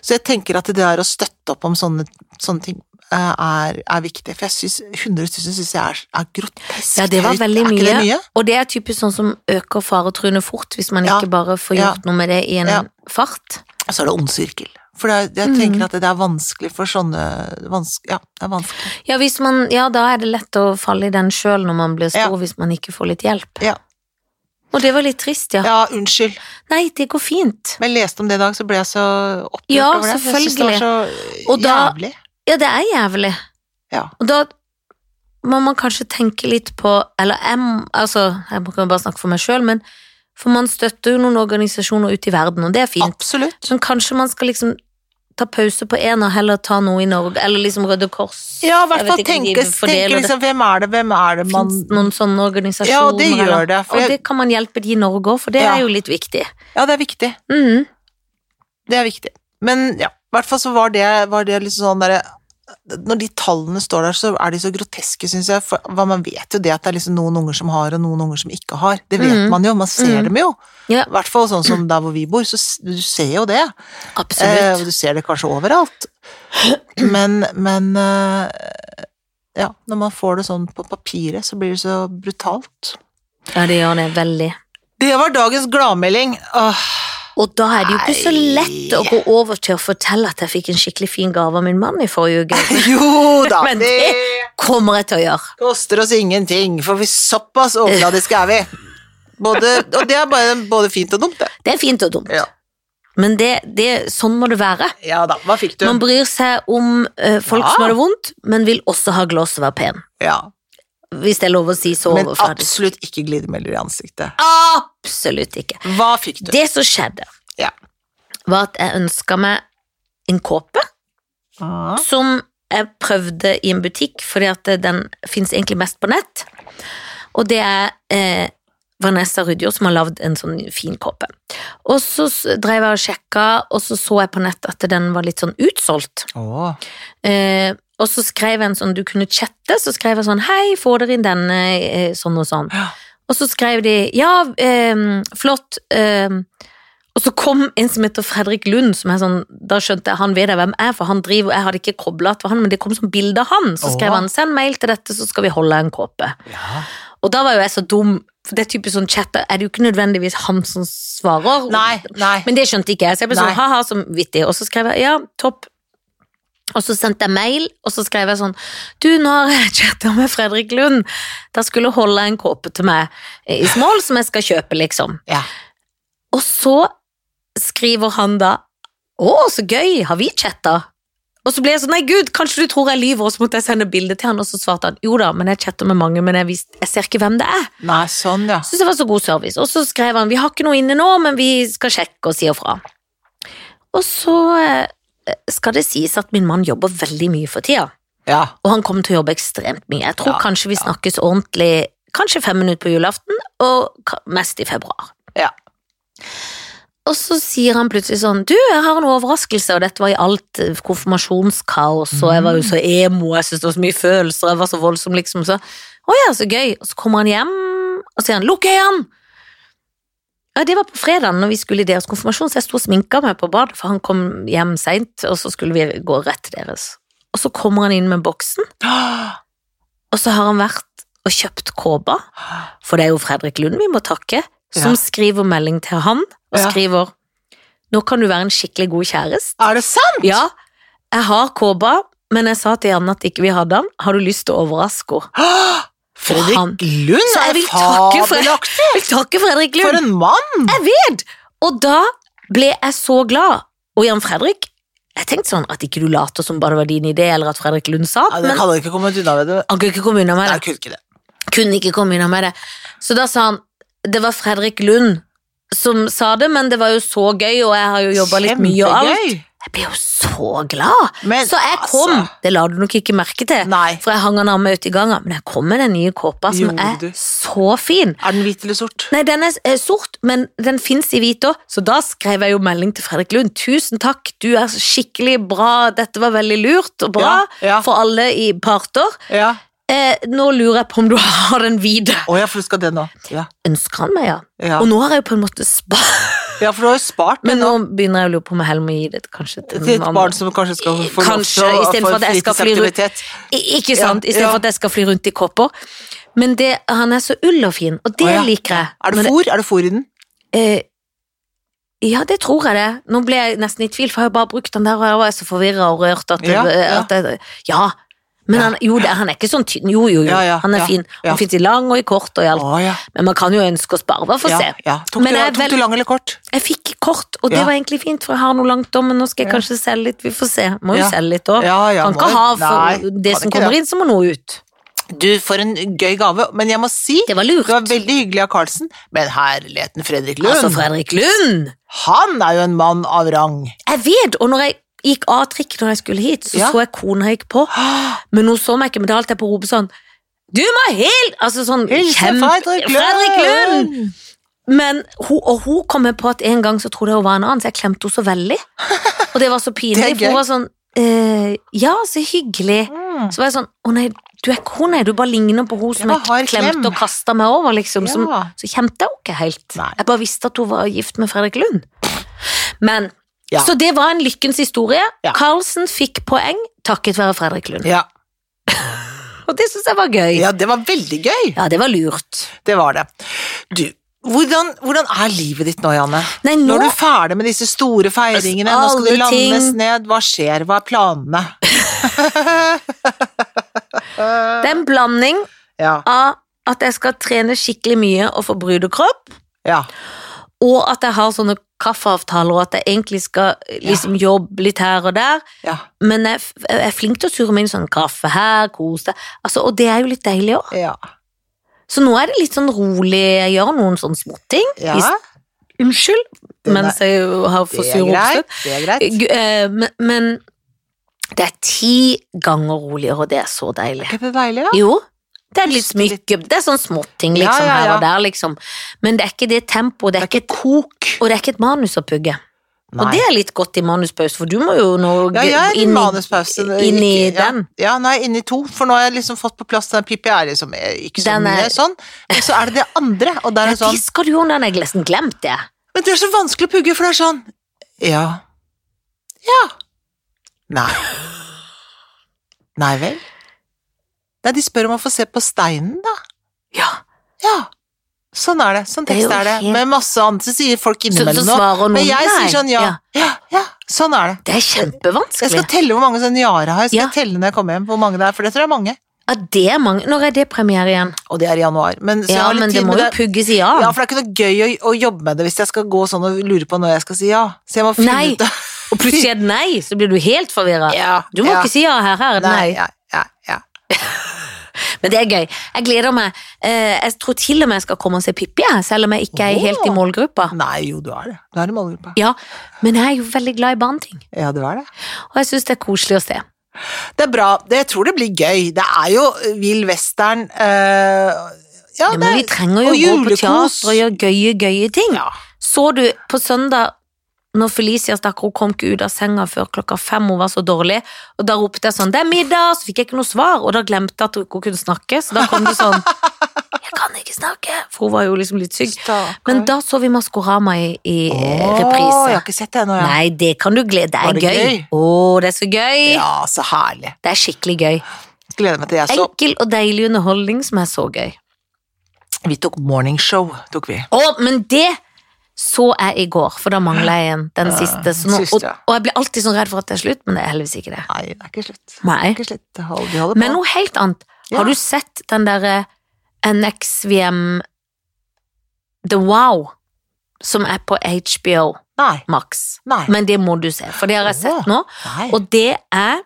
A: Så jeg tenker at det der å støtte opp om sånne, sånne ting eh, er, er viktig. For jeg syns 100 000 syns jeg er, er grotesk
B: Ja, det var
A: høyt.
B: veldig
A: Er ikke det
B: mye.
A: mye?
B: Og det er typisk sånn som øker faretruene fort, hvis man
A: Ja.
B: ikke bare får
A: Ja.
B: gjort noe med det i en
A: Ja.
B: fart.
A: Og så er det ond sirkel. For det er, jeg tenker
B: Mm.
A: at det er vanskelig for sånne vans, Ja, det er vanskelig.
B: Ja, hvis man, ja, da er det lett å falle i den sjøl når man blir stor,
A: Ja.
B: hvis man ikke får litt hjelp.
A: Ja.
B: Og det var litt trist, ja.
A: ja, unnskyld.
B: Nei, det går fint.
A: Men jeg leste om det i dag, så ble jeg så opprørt
B: Ja,
A: over det. for Jeg syns det var så
B: Og da-
A: jævlig.
B: Ja, det er jævlig.
A: Ja.
B: Og da må man kanskje tenke litt på Eller jeg, m- altså, jeg kan bare snakke for meg sjøl, men for man støtter jo noen organisasjoner ute i verden, og det er fint.
A: Absolutt.
B: Så kanskje man skal liksom ta pause på én og heller ta noe i Norge, eller liksom Røde Kors.
A: Ja, i hvert
B: Jeg vet
A: fall
B: ikke om de
A: tenke, tenke
B: fordeler det.
A: liksom, hvem er det, hvem er det man
B: Finnes det noen sånne organisasjoner?
A: Ja, det gjør
B: eller-
A: det. For
B: Og
A: jeg,
B: det kan man hjelpe de i Norge òg, for det
A: Ja.
B: er jo litt viktig.
A: ja, det er viktig.
B: Mhm.
A: Det er viktig. Men ja, i hvert fall så var det, var det liksom sånn derre når de tallene står der, så er de så groteske, syns jeg. For hva man vet jo det at det er liksom noen unger som har, og noen unger som ikke har. Det vet
B: Mhm.
A: man jo, man ser
B: Mhm.
A: dem jo.
B: Ja.
A: I hvert fall sånn som der hvor vi bor, så s- du ser jo det. Eh, og
B: Absolutt.
A: du ser det kanskje overalt. Men, men eh, Ja, når man får det sånn på papiret, så blir det så brutalt.
B: Ja, det gjør det veldig.
A: Det var dagens gladmelding. Åh,
B: Og da er det jo ikke så
A: Nei.
B: lett å gå over til å fortelle at jeg fikk en skikkelig fin gave av min mann i forrige
A: [laughs] [laughs]
B: uke.
A: jo da,
B: Men
A: det
B: Kommer jeg til å gjøre.
A: koster oss ingenting, for vi såpass overfladiske er vi. Både, og det er bare både fint og dumt, det.
B: Det er fint og dumt.
A: Ja.
B: Men det, det, sånn må det være.
A: Ja da, hva fikk du?
B: Man bryr seg om eh, folk
A: Ja.
B: som har det vondt, men vil også ha glås og være pen.
A: Ja,
B: Hvis det er lov å si så
A: men
B: overfladisk.
A: absolutt ikke glidemelder i ansiktet.
B: Absolutt ikke.
A: Hva fikk du?
B: Det som skjedde,
A: Ja.
B: var at jeg ønska meg en kåpe
A: Ah,
B: som jeg prøvde i en butikk, fordi at den fins egentlig mest på nett. Og det er eh, Vanessa Rudjord som har lagd en sånn fin kåpe. Og så s- drev jeg og sjekka, og så så jeg på nett at den var litt sånn utsolgt.
A: Åh,
B: Eh, og så skrev jeg en sånn du kunne chatte, så skrev jeg sånn hei, får dere inn denne eh, sånn og sånn.
A: Ja.
B: Og så skrev de ja, eh, flott. Eh, og så kom en som heter Fredrik Lund, som er sånn, da skjønte jeg han vet jeg hvem er, for han driver, og jeg hadde ikke koblet at det var han, men det kom som bilde av han. Så skrev
A: Åh.
B: han send mail til dette, så skal vi holde en kåpe.
A: ja.
B: Og da var jo jeg så dum, for det er typisk sånn chat, da er det jo ikke nødvendigvis han som svarer.
A: Nei, nei.
B: Men det skjønte ikke jeg, så jeg ble
A: Nei.
B: sånn ha-ha som vittig. Og så skrev jeg ja, topp. Og så sendte jeg mail, og så skrev jeg sånn Du, nå har jeg chatta med Fredrik Lund. Da skulle jeg holde en kåpe til meg eh, i small som jeg skal kjøpe, liksom.
A: Ja.
B: Og så skriver han da Å, så gøy, har vi chatta? Og så ble jeg sånn, nei gud, kanskje du tror jeg lyver, og så måtte jeg sende bilde til han, og så svarte han, jo da, men jeg chatter med mange, men jeg, vis- jeg ser ikke hvem det er.
A: Nei, sånn, ja.
B: Synes det var så god service. Og så skrev han vi har ikke noe inne nå, men vi skal sjekke og si ifra. Og så eh, skal det sies at min mann jobber veldig mye for tida.
A: Ja.
B: Og han kommer til å jobbe ekstremt mye. Jeg tror
A: Ja,
B: kanskje vi snakkes ordentlig kanskje fem minutter på julaften, og ka- mest i februar.
A: Ja.
B: Og så sier han plutselig sånn Du, jeg har en overraskelse, og dette var i alt eh, konfirmasjonskaos, og jeg var jo så emo, jeg syntes det var så mye følelser, jeg var så voldsom, liksom. Så å ja, så gøy. Og så kommer han hjem, og sier han lukk øynene! Ja, det var på fredagen når vi skulle i deres konfirmasjon, så jeg sto og sminka meg på badet, for han kom hjem seint, og så skulle vi gå rett til deres. Og så kommer han inn med boksen, og så har han vært og kjøpt kåpa, for det er jo Fredrik Lund vi må takke, som
A: Ja.
B: skriver melding til han, og
A: Ja.
B: skriver Nå kan du være en skikkelig god kjæreste.
A: Er det sant?
B: Ja, jeg har kåpa, men jeg sa til Janne at ikke vi hadde den. Har du lyst til å overraske henne? Han-
A: [gasps] Fredrik Lund
B: Så jeg
A: er
B: vil takke for-
A: fabelaktig!
B: Jeg vil takke Fredrik
A: For
B: Lund!
A: en mann!
B: Jeg vet! Og da ble jeg så glad. Og Jan Fredrik, jeg tenkte sånn at ikke du later som bare det var din idé, eller at Fredrik Lund sa
A: Ja,
B: det,
A: det
B: men
A: kan du ikke komme unna med. det.
B: han kunne ikke komme unna med
A: Nei,
B: det.
A: jeg kunne ikke det.
B: kunne ikke komme unna med det. Så da sa han det var Fredrik Lund som sa det, men det var jo så gøy, og jeg har jo jobba litt mye og alt.
A: Kjempegøy.
B: Jeg ble jo så glad!
A: Men
B: så jeg kom,
A: altså.
B: det la du nok ikke merke til,
A: Nei.
B: for jeg hang han av meg ute i gangen, men jeg kom med den nye kåpa som
A: Gjorde
B: er
A: du?
B: så fin.
A: Er den hvit eller sort?
B: Nei, den er eh, sort, men den fins i hvit òg, så da skrev jeg jo melding til Fredrik Lund. Tusen takk, du er skikkelig bra, dette var veldig lurt og bra
A: Ja, ja.
B: for alle i parter.
A: Ja.
B: Eh, nå lurer jeg på om du [laughs] har den hvite.
A: Å ja, for du skal det nå. Ja.
B: Ønsker han meg, ja.
A: Ja.
B: Og nå har jeg jo på en måte
A: [laughs]
B: spart
A: ja, for du har jo spart
B: Men
A: den
B: nå
A: nå
B: begynner jeg å lure på om jeg heller må gi det kanskje til
A: til et
B: noen
A: barn
B: andre.
A: som kanskje skal få lov
B: Kanskje,
A: til å
B: i stedet
A: få
B: for at jeg skal fly rundt.
A: fritidsaktivitet.
B: I- Ikke
A: Ja,
B: sant? Istedenfor
A: ja.
B: at jeg skal fly rundt i kopper. Men det, han er så ull og fin, og det
A: Å ja.
B: liker jeg.
A: Er
B: Men
A: det fôr? Er det fôr i den?
B: Eh, ja, det tror jeg det. Nå ble jeg nesten i tvil, for jeg har jo bare brukt den der, og jeg var så forvirra og rørt at,
A: Ja, ja.
B: at jeg, Ja. Men han, jo, det, han er ikke sånn tynn. Jo, jo, jo.
A: Ja, ja,
B: han er
A: ja,
B: fin.
A: ja.
B: Han fins i lang og i kort og i alt.
A: Å ja.
B: Men man kan jo ønske å spare, bare for
A: ja,
B: å se.
A: ja. Tok,
B: Men
A: du,
B: jeg er
A: tok du
B: vel-
A: lang eller kort?
B: Jeg fikk kort, og det
A: Ja.
B: var egentlig fint, for jeg har noe langt om, men nå skal jeg
A: Ja.
B: kanskje selge litt. Vi får se. Må jo
A: Ja.
B: selge litt òg.
A: Ja, ja,
B: kan
A: må
B: ikke
A: jo-
B: ha for
A: Nei,
B: det
A: kan
B: som
A: ikke
B: kommer
A: det.
B: inn, så må noe ut.
A: Du, for en gøy gave. Men jeg må si
B: Det var lurt.
A: det var veldig hyggelig av Carlsen, men herligheten Fredrik Lund,
B: Altså, Fredrik Lund!
A: han er jo en mann av rang.
B: Jeg vet, og når jeg gikk av trikk når jeg skulle hit, så
A: Ja.
B: så jeg kona jeg gikk på, men hun så meg ikke, men da holdt jeg på å rope sånn Du må hil! Altså sånn
A: Hilsen
B: kjempe-
A: Fredrik Lund!
B: Fredrik Lund! Men hun, og hun kom med på at en gang så trodde jeg hun var en annen, så jeg klemte henne så veldig. Og det var så
A: [laughs] Det
B: pinlig,
A: er
B: for
A: gøy. Mm.
B: hun var sånn eh, Ja, så hyggelig. Så var jeg sånn Å nei, du er ikke hun, nei. Du bare ligner på hun som
A: Ja,
B: jeg
A: har
B: klemte
A: klem.
B: og kasta meg over, liksom. Som,
A: Ja.
B: så kjente jeg henne ikke helt.
A: Nei.
B: Jeg bare visste at hun var gift med Fredrik Lund. Men
A: Ja.
B: Så det var en lykkens historie.
A: Ja.
B: Carlsen fikk poeng takket være Fredrik Lund.
A: Ja.
B: Og det syns jeg var gøy.
A: ja, det var veldig gøy.
B: Ja, det var lurt.
A: Det var det. Du, hvordan, hvordan er livet ditt nå, Janne?
B: Nei, nå
A: Når du er ferdig med disse store feiringene, nå skal du
B: Alle ting.
A: landes ned, hva skjer, hva er planene?
B: Det er en blanding
A: Ja,
B: av at jeg skal trene skikkelig mye og få brudekropp,
A: ja,
B: og at jeg har sånne kaffeavtaler, og at jeg egentlig skal eh, liksom jobbe litt her og der,
A: ja.
B: men jeg, f- jeg er flink til å surre meg inn sånn kaffe her, kos deg, altså, og det er jo litt deilig også.
A: ja.
B: Så nå er det litt sånn rolig, jeg gjør noen sånne småting,
A: ja.
B: Hvis- unnskyld,
A: Den er-
B: mens jeg jo har
A: Det
B: for
A: er
B: sur oppstøtt.
A: greit, det er greit.
B: Gu- eh, Men, men det er ti ganger roligere, og det er så deilig.
A: Er ikke det deilig, ja?
B: Jo, det er litt
A: Puste litt.
B: smykke, det er sånn småting
A: Ja,
B: liksom
A: ja,
B: her
A: ja.
B: og der liksom. Men det er ikke det tempoet, det er ikke et kok, og det er ikke et manus å pugge. Og det er litt godt i manuspause, for du må jo nå
A: Ja, jeg er i
B: inn i-
A: manuspause. det
B: inn i
A: gikk- ja.
B: den.
A: Ja, nå er jeg inne i to, for nå har jeg liksom fått på plass den pipiære som er liksom, ikke så
B: Den er-
A: mye sånn. Men så er det det andre, og der
B: Ja,
A: er det sånn
B: det skal du jo, den har jeg nesten glemt det.
A: Men det er så vanskelig å pugge, for det er sånn Ja. Ja. Nei. Nei vel? Nei, de spør om å få se på steinen, da.
B: Ja,
A: Ja. Sånn er det. Sånn
B: Det er
A: tekst
B: jo
A: er det.
B: helt-
A: Med masse annet, så sier folk
B: så, så
A: innimellom noe.
B: svarer noen
A: Men jeg
B: nei.
A: sier sånn ja. Ja, ja. Sånn er det.
B: Det er
A: Jeg
B: kjempevanskelig.
A: skal telle hvor mange sånne ja-er jeg har. Jeg skal
B: Ja.
A: telle når jeg kommer hjem, hvor mange det er, for det tror jeg er mange.
B: Ja, det er mange. Når er det premiere igjen?
A: Og det er i januar. Men, så jeg
B: Ja,
A: har litt
B: men det
A: tid,
B: må
A: men
B: jo
A: det er-
B: pugges i ja.
A: Ja, for det er ikke noe gøy å, å jobbe med det hvis jeg skal gå sånn og lure på når jeg skal si ja. Så jeg må finne
B: Nei.
A: ut av
B: Og plutselig er det nei, så blir du helt forvirret.
A: Ja,
B: Du må
A: ja.
B: ikke si [laughs] ja her, her er det nei.
A: Nei, ja, ja, ja.
B: Men det er gøy. Jeg gleder meg. Eh, Jeg tror til og med jeg skal komme og se Pippi, jeg, selv om jeg ikke er helt i målgruppa.
A: Nei, jo, du er det. Du er i målgruppa.
B: Ja, men jeg er jo veldig glad i barneting,
A: Ja, du er det.
B: og jeg syns det er koselig å se.
A: Det er bra. Det, jeg tror det blir gøy. Det er jo vill western eh, Ja,
B: Ja,
A: det
B: men vi trenger jo
A: og
B: å gå på
A: julekos.
B: teater og gjøre gøye, gøye ting.
A: Ja.
B: Så du på søndag når Felicia stakkar, hun kom ikke ut av senga før klokka fem, hun var så dårlig, og da ropte jeg sånn 'det er middag', så fikk jeg ikke noe svar, og da glemte jeg at hun ikke kunne snakke, så da kom det sånn 'jeg kan ikke snakke', for hun var jo liksom litt syk.
A: Stakkar.
B: Men da så vi Maskorama i, i
A: Åh,
B: eh, reprise.
A: Jeg har ikke sett det ennå, ja.
B: Nei, det kan du glede
A: Var
B: deg.
A: det
B: Det er gøy.
A: gøy?
B: Å, det er så gøy.
A: Ja, så herlig.
B: Det er skikkelig gøy.
A: Gleder meg til jeg så.
B: Enkel og deilig underholdning som er så gøy.
A: Vi tok morningshow, tok vi.
B: Å, men det så jeg i går, for da mangla jeg en. Den siste. Så nå,
A: siste,
B: og,
A: ja.
B: og jeg blir alltid sånn redd for at det er slutt, men det er heldigvis ikke det.
A: Nei, det er ikke slutt. Det
B: Nei.
A: er ikke slutt. Det holder- Vi holder på.
B: Men noe helt annet.
A: Ja.
B: Har du sett den eh, derre NXVM The Wow, som er på HBO
A: Nei.
B: Max?
A: Nei.
B: Men det må du se, for det har jeg sett nå.
A: Nei.
B: Og det er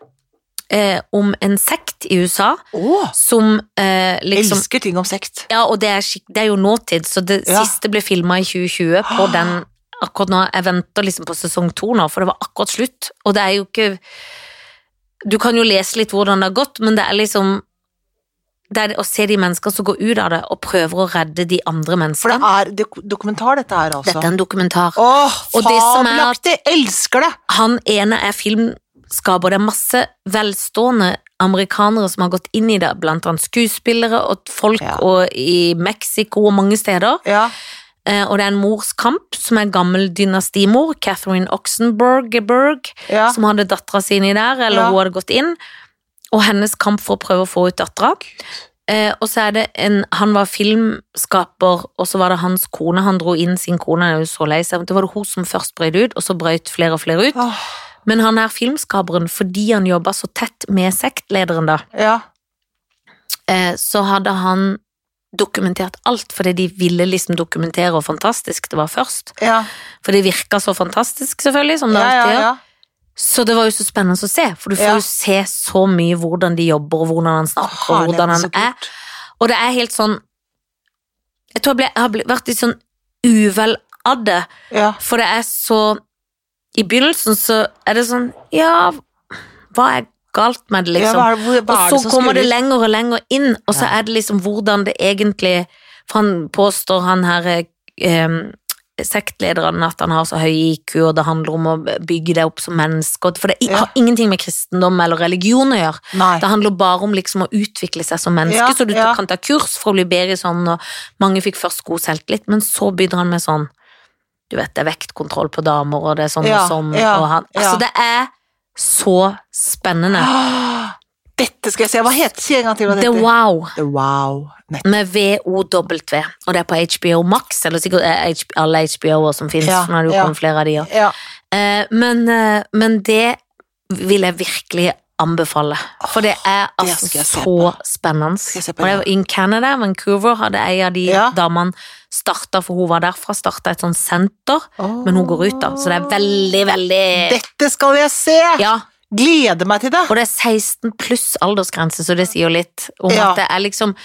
B: eh, om en sekt i USA
A: Åh,
B: som eh, liksom
A: Elsker ting om sekt.
B: Ja, og det er, skik- det er jo nåtid, så det
A: Ja.
B: siste ble filma i 2020 på
A: [gasps]
B: den akkurat nå. Jeg venter liksom på sesong to nå, for det var akkurat slutt. Og det er jo ikke Du kan jo lese litt hvordan det har gått, men det er liksom Det er å se de menneskene som går ut av det og prøver å redde de andre
A: For det
B: menneskene.
A: er dok- dokumentar, dette her, altså.
B: Dette er en dokumentar.
A: Åh,
B: Og det som er at-
A: fabelaktig! Elsker det!
B: Han ene er filmskaper. Det er masse velstående amerikanere som har gått inn i det, blant annet skuespillere og folk
A: Ja.
B: og i Mexico og mange steder.
A: Ja.
B: Eh, Og det er en mors kamp, som er en gammel dynastimor, Catherine Oxenberg,
A: ja.
B: som hadde dattera si inni der, eller
A: Ja.
B: hun hadde gått inn. Og hennes kamp for å prøve å få ut dattera. Eh, og så er det en Han var filmskaper, og så var det hans kone. Han dro inn sin kone, han er jo så lei seg. Det var det hun som først brøt ut, og så brøt flere og flere ut.
A: Åh,
B: Men han er filmskaperen fordi han jobba så tett med sektlederen, da.
A: ja.
B: Eh, så hadde han dokumentert alt, fordi de ville liksom dokumentere hvor fantastisk det var først.
A: Ja.
B: For det virka så fantastisk, selvfølgelig, som det
A: Ja, ja,
B: alltid gjør.
A: ja.
B: Så det var jo så spennende å se, for du får
A: Ja.
B: jo se så mye hvordan de jobber, og hvordan han snakker, og
A: Herligheten,
B: hvordan han
A: så kult.
B: er. Og det er helt sånn Jeg tror jeg, ble, jeg har bli- vært litt sånn uvel av det,
A: Ja.
B: for det er så I begynnelsen så er det sånn Ja, hva er galt med det,
A: Ja,
B: liksom?
A: hva er, hvor, hva er
B: og
A: det
B: så
A: som
B: kommer det
A: skurrer?
B: lenger og lenger inn, og så
A: Ja.
B: er det liksom hvordan det egentlig For han påstår, han her eh, sektlederen, at han har så høy IQ, og det handler om å bygge deg opp som menneske. og- For det i-
A: Ja.
B: har ingenting med kristendom eller religion å gjøre.
A: Nei.
B: Det handler bare om liksom å utvikle seg som menneske,
A: Ja,
B: så du
A: ja.
B: kan ta kurs for å bli bedre i sånn, og mange fikk først god selvtillit, men så begynner han med sånn Du vet, det er vektkontroll på damer, og det er sånn
A: Ja,
B: og sånn,
A: ja,
B: og han Altså,
A: ja.
B: det er så spennende.
A: Åh, Dette skal jeg se. Hva heter Si en gang til hva det
B: The
A: heter.
B: wow.
A: The Wow. Nett.
B: Med V-O-W, og det er på HBO Max, eller sikkert eh, H- alle HBO-er som finnes,
A: Ja,
B: for nå er det jo
A: ja.
B: kommet flere av de også.
A: Ja.
B: Eh, men, eh, men det vil jeg virkelig anbefale, for det er
A: det
B: altså
A: skal jeg se
B: så
A: på.
B: spennende.
A: Skal jeg se på,
B: Og det
A: ja.
B: var in Canada, Vancouver, hadde ei av de
A: Ja.
B: damene starta, for hun var derfra, starta et sånt senter,
A: Åh.
B: men hun går ut da, så det er veldig, veldig
A: Dette skal jeg se!
B: ja,
A: Gleder meg til det!
B: og det er 16 pluss aldersgrense, så det sier jo litt om
A: Ja.
B: at det er liksom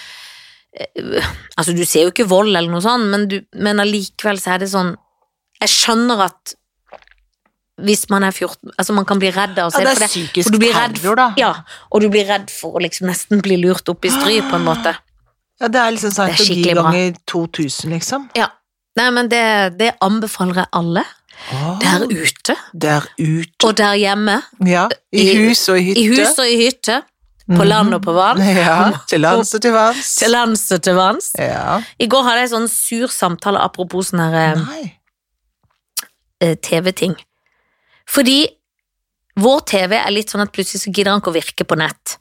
B: eh, Altså, du ser jo ikke vold eller noe sånt, men, du, men allikevel så er det sånn Jeg skjønner at hvis man er 14 Altså, man kan bli redd
A: Ja,
B: av å se
A: det
B: for
A: er
B: det.
A: psykisk
B: for du blir redd
A: terror, da.
B: Ja, og du blir redd for å liksom nesten bli lurt opp i stry,
A: [gasps]
B: på en måte.
A: Ja, det er liksom
B: er
A: scientologi
B: skikkelig bra.
A: ganger 2000, liksom.
B: Ja. Nei, men det, det anbefaler jeg alle
A: Åh,
B: der ute
A: Der ute.
B: og der hjemme.
A: Ja, i
B: i-
A: hus og i hytte.
B: I hus og i hytte. På
A: Mhm.
B: land og på vann.
A: Ja, til lands og til vanns.
B: Til lands og til vanns.
A: Ja.
B: I går hadde jeg en sånn sur samtale apropos sånn her eh,
A: Nei.
B: eh, TV-ting. Fordi vår TV er litt sånn at plutselig så gidder han ikke å virke på nett.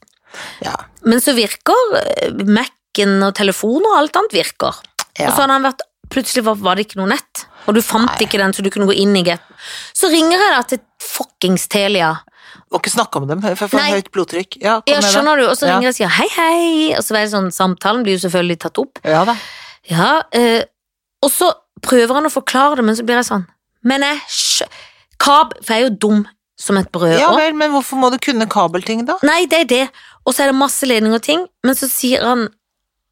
A: Ja.
B: Men så virker eh, Mac-en og telefonen og alt annet virker. Og så
A: ja.
B: hadde han vært Plutselig var, var det ikke noe nett, og du fant
A: Nei.
B: ikke den så du kunne gå inn i get. Så ringer jeg da til fuckings Telia.
A: Må ikke snakke om dem, for jeg får
B: Nei.
A: høyt blodtrykk. Ja, kom
B: Ja,
A: med det.
B: skjønner du? Og så
A: Ja.
B: ringer jeg og sier hei, hei. Og så er det sånn, samtalen blir jo selvfølgelig tatt opp.
A: Ja da.
B: Ja, eh, og så prøver han å forklare det, men så blir jeg sånn Men jeg skj... Kab, for jeg er jo dum som et brød
A: Ja
B: òg.
A: vel, men hvorfor må du kunne kabelting, da?
B: Nei, det er det. Og så er det masse ledning og ting, men så sier han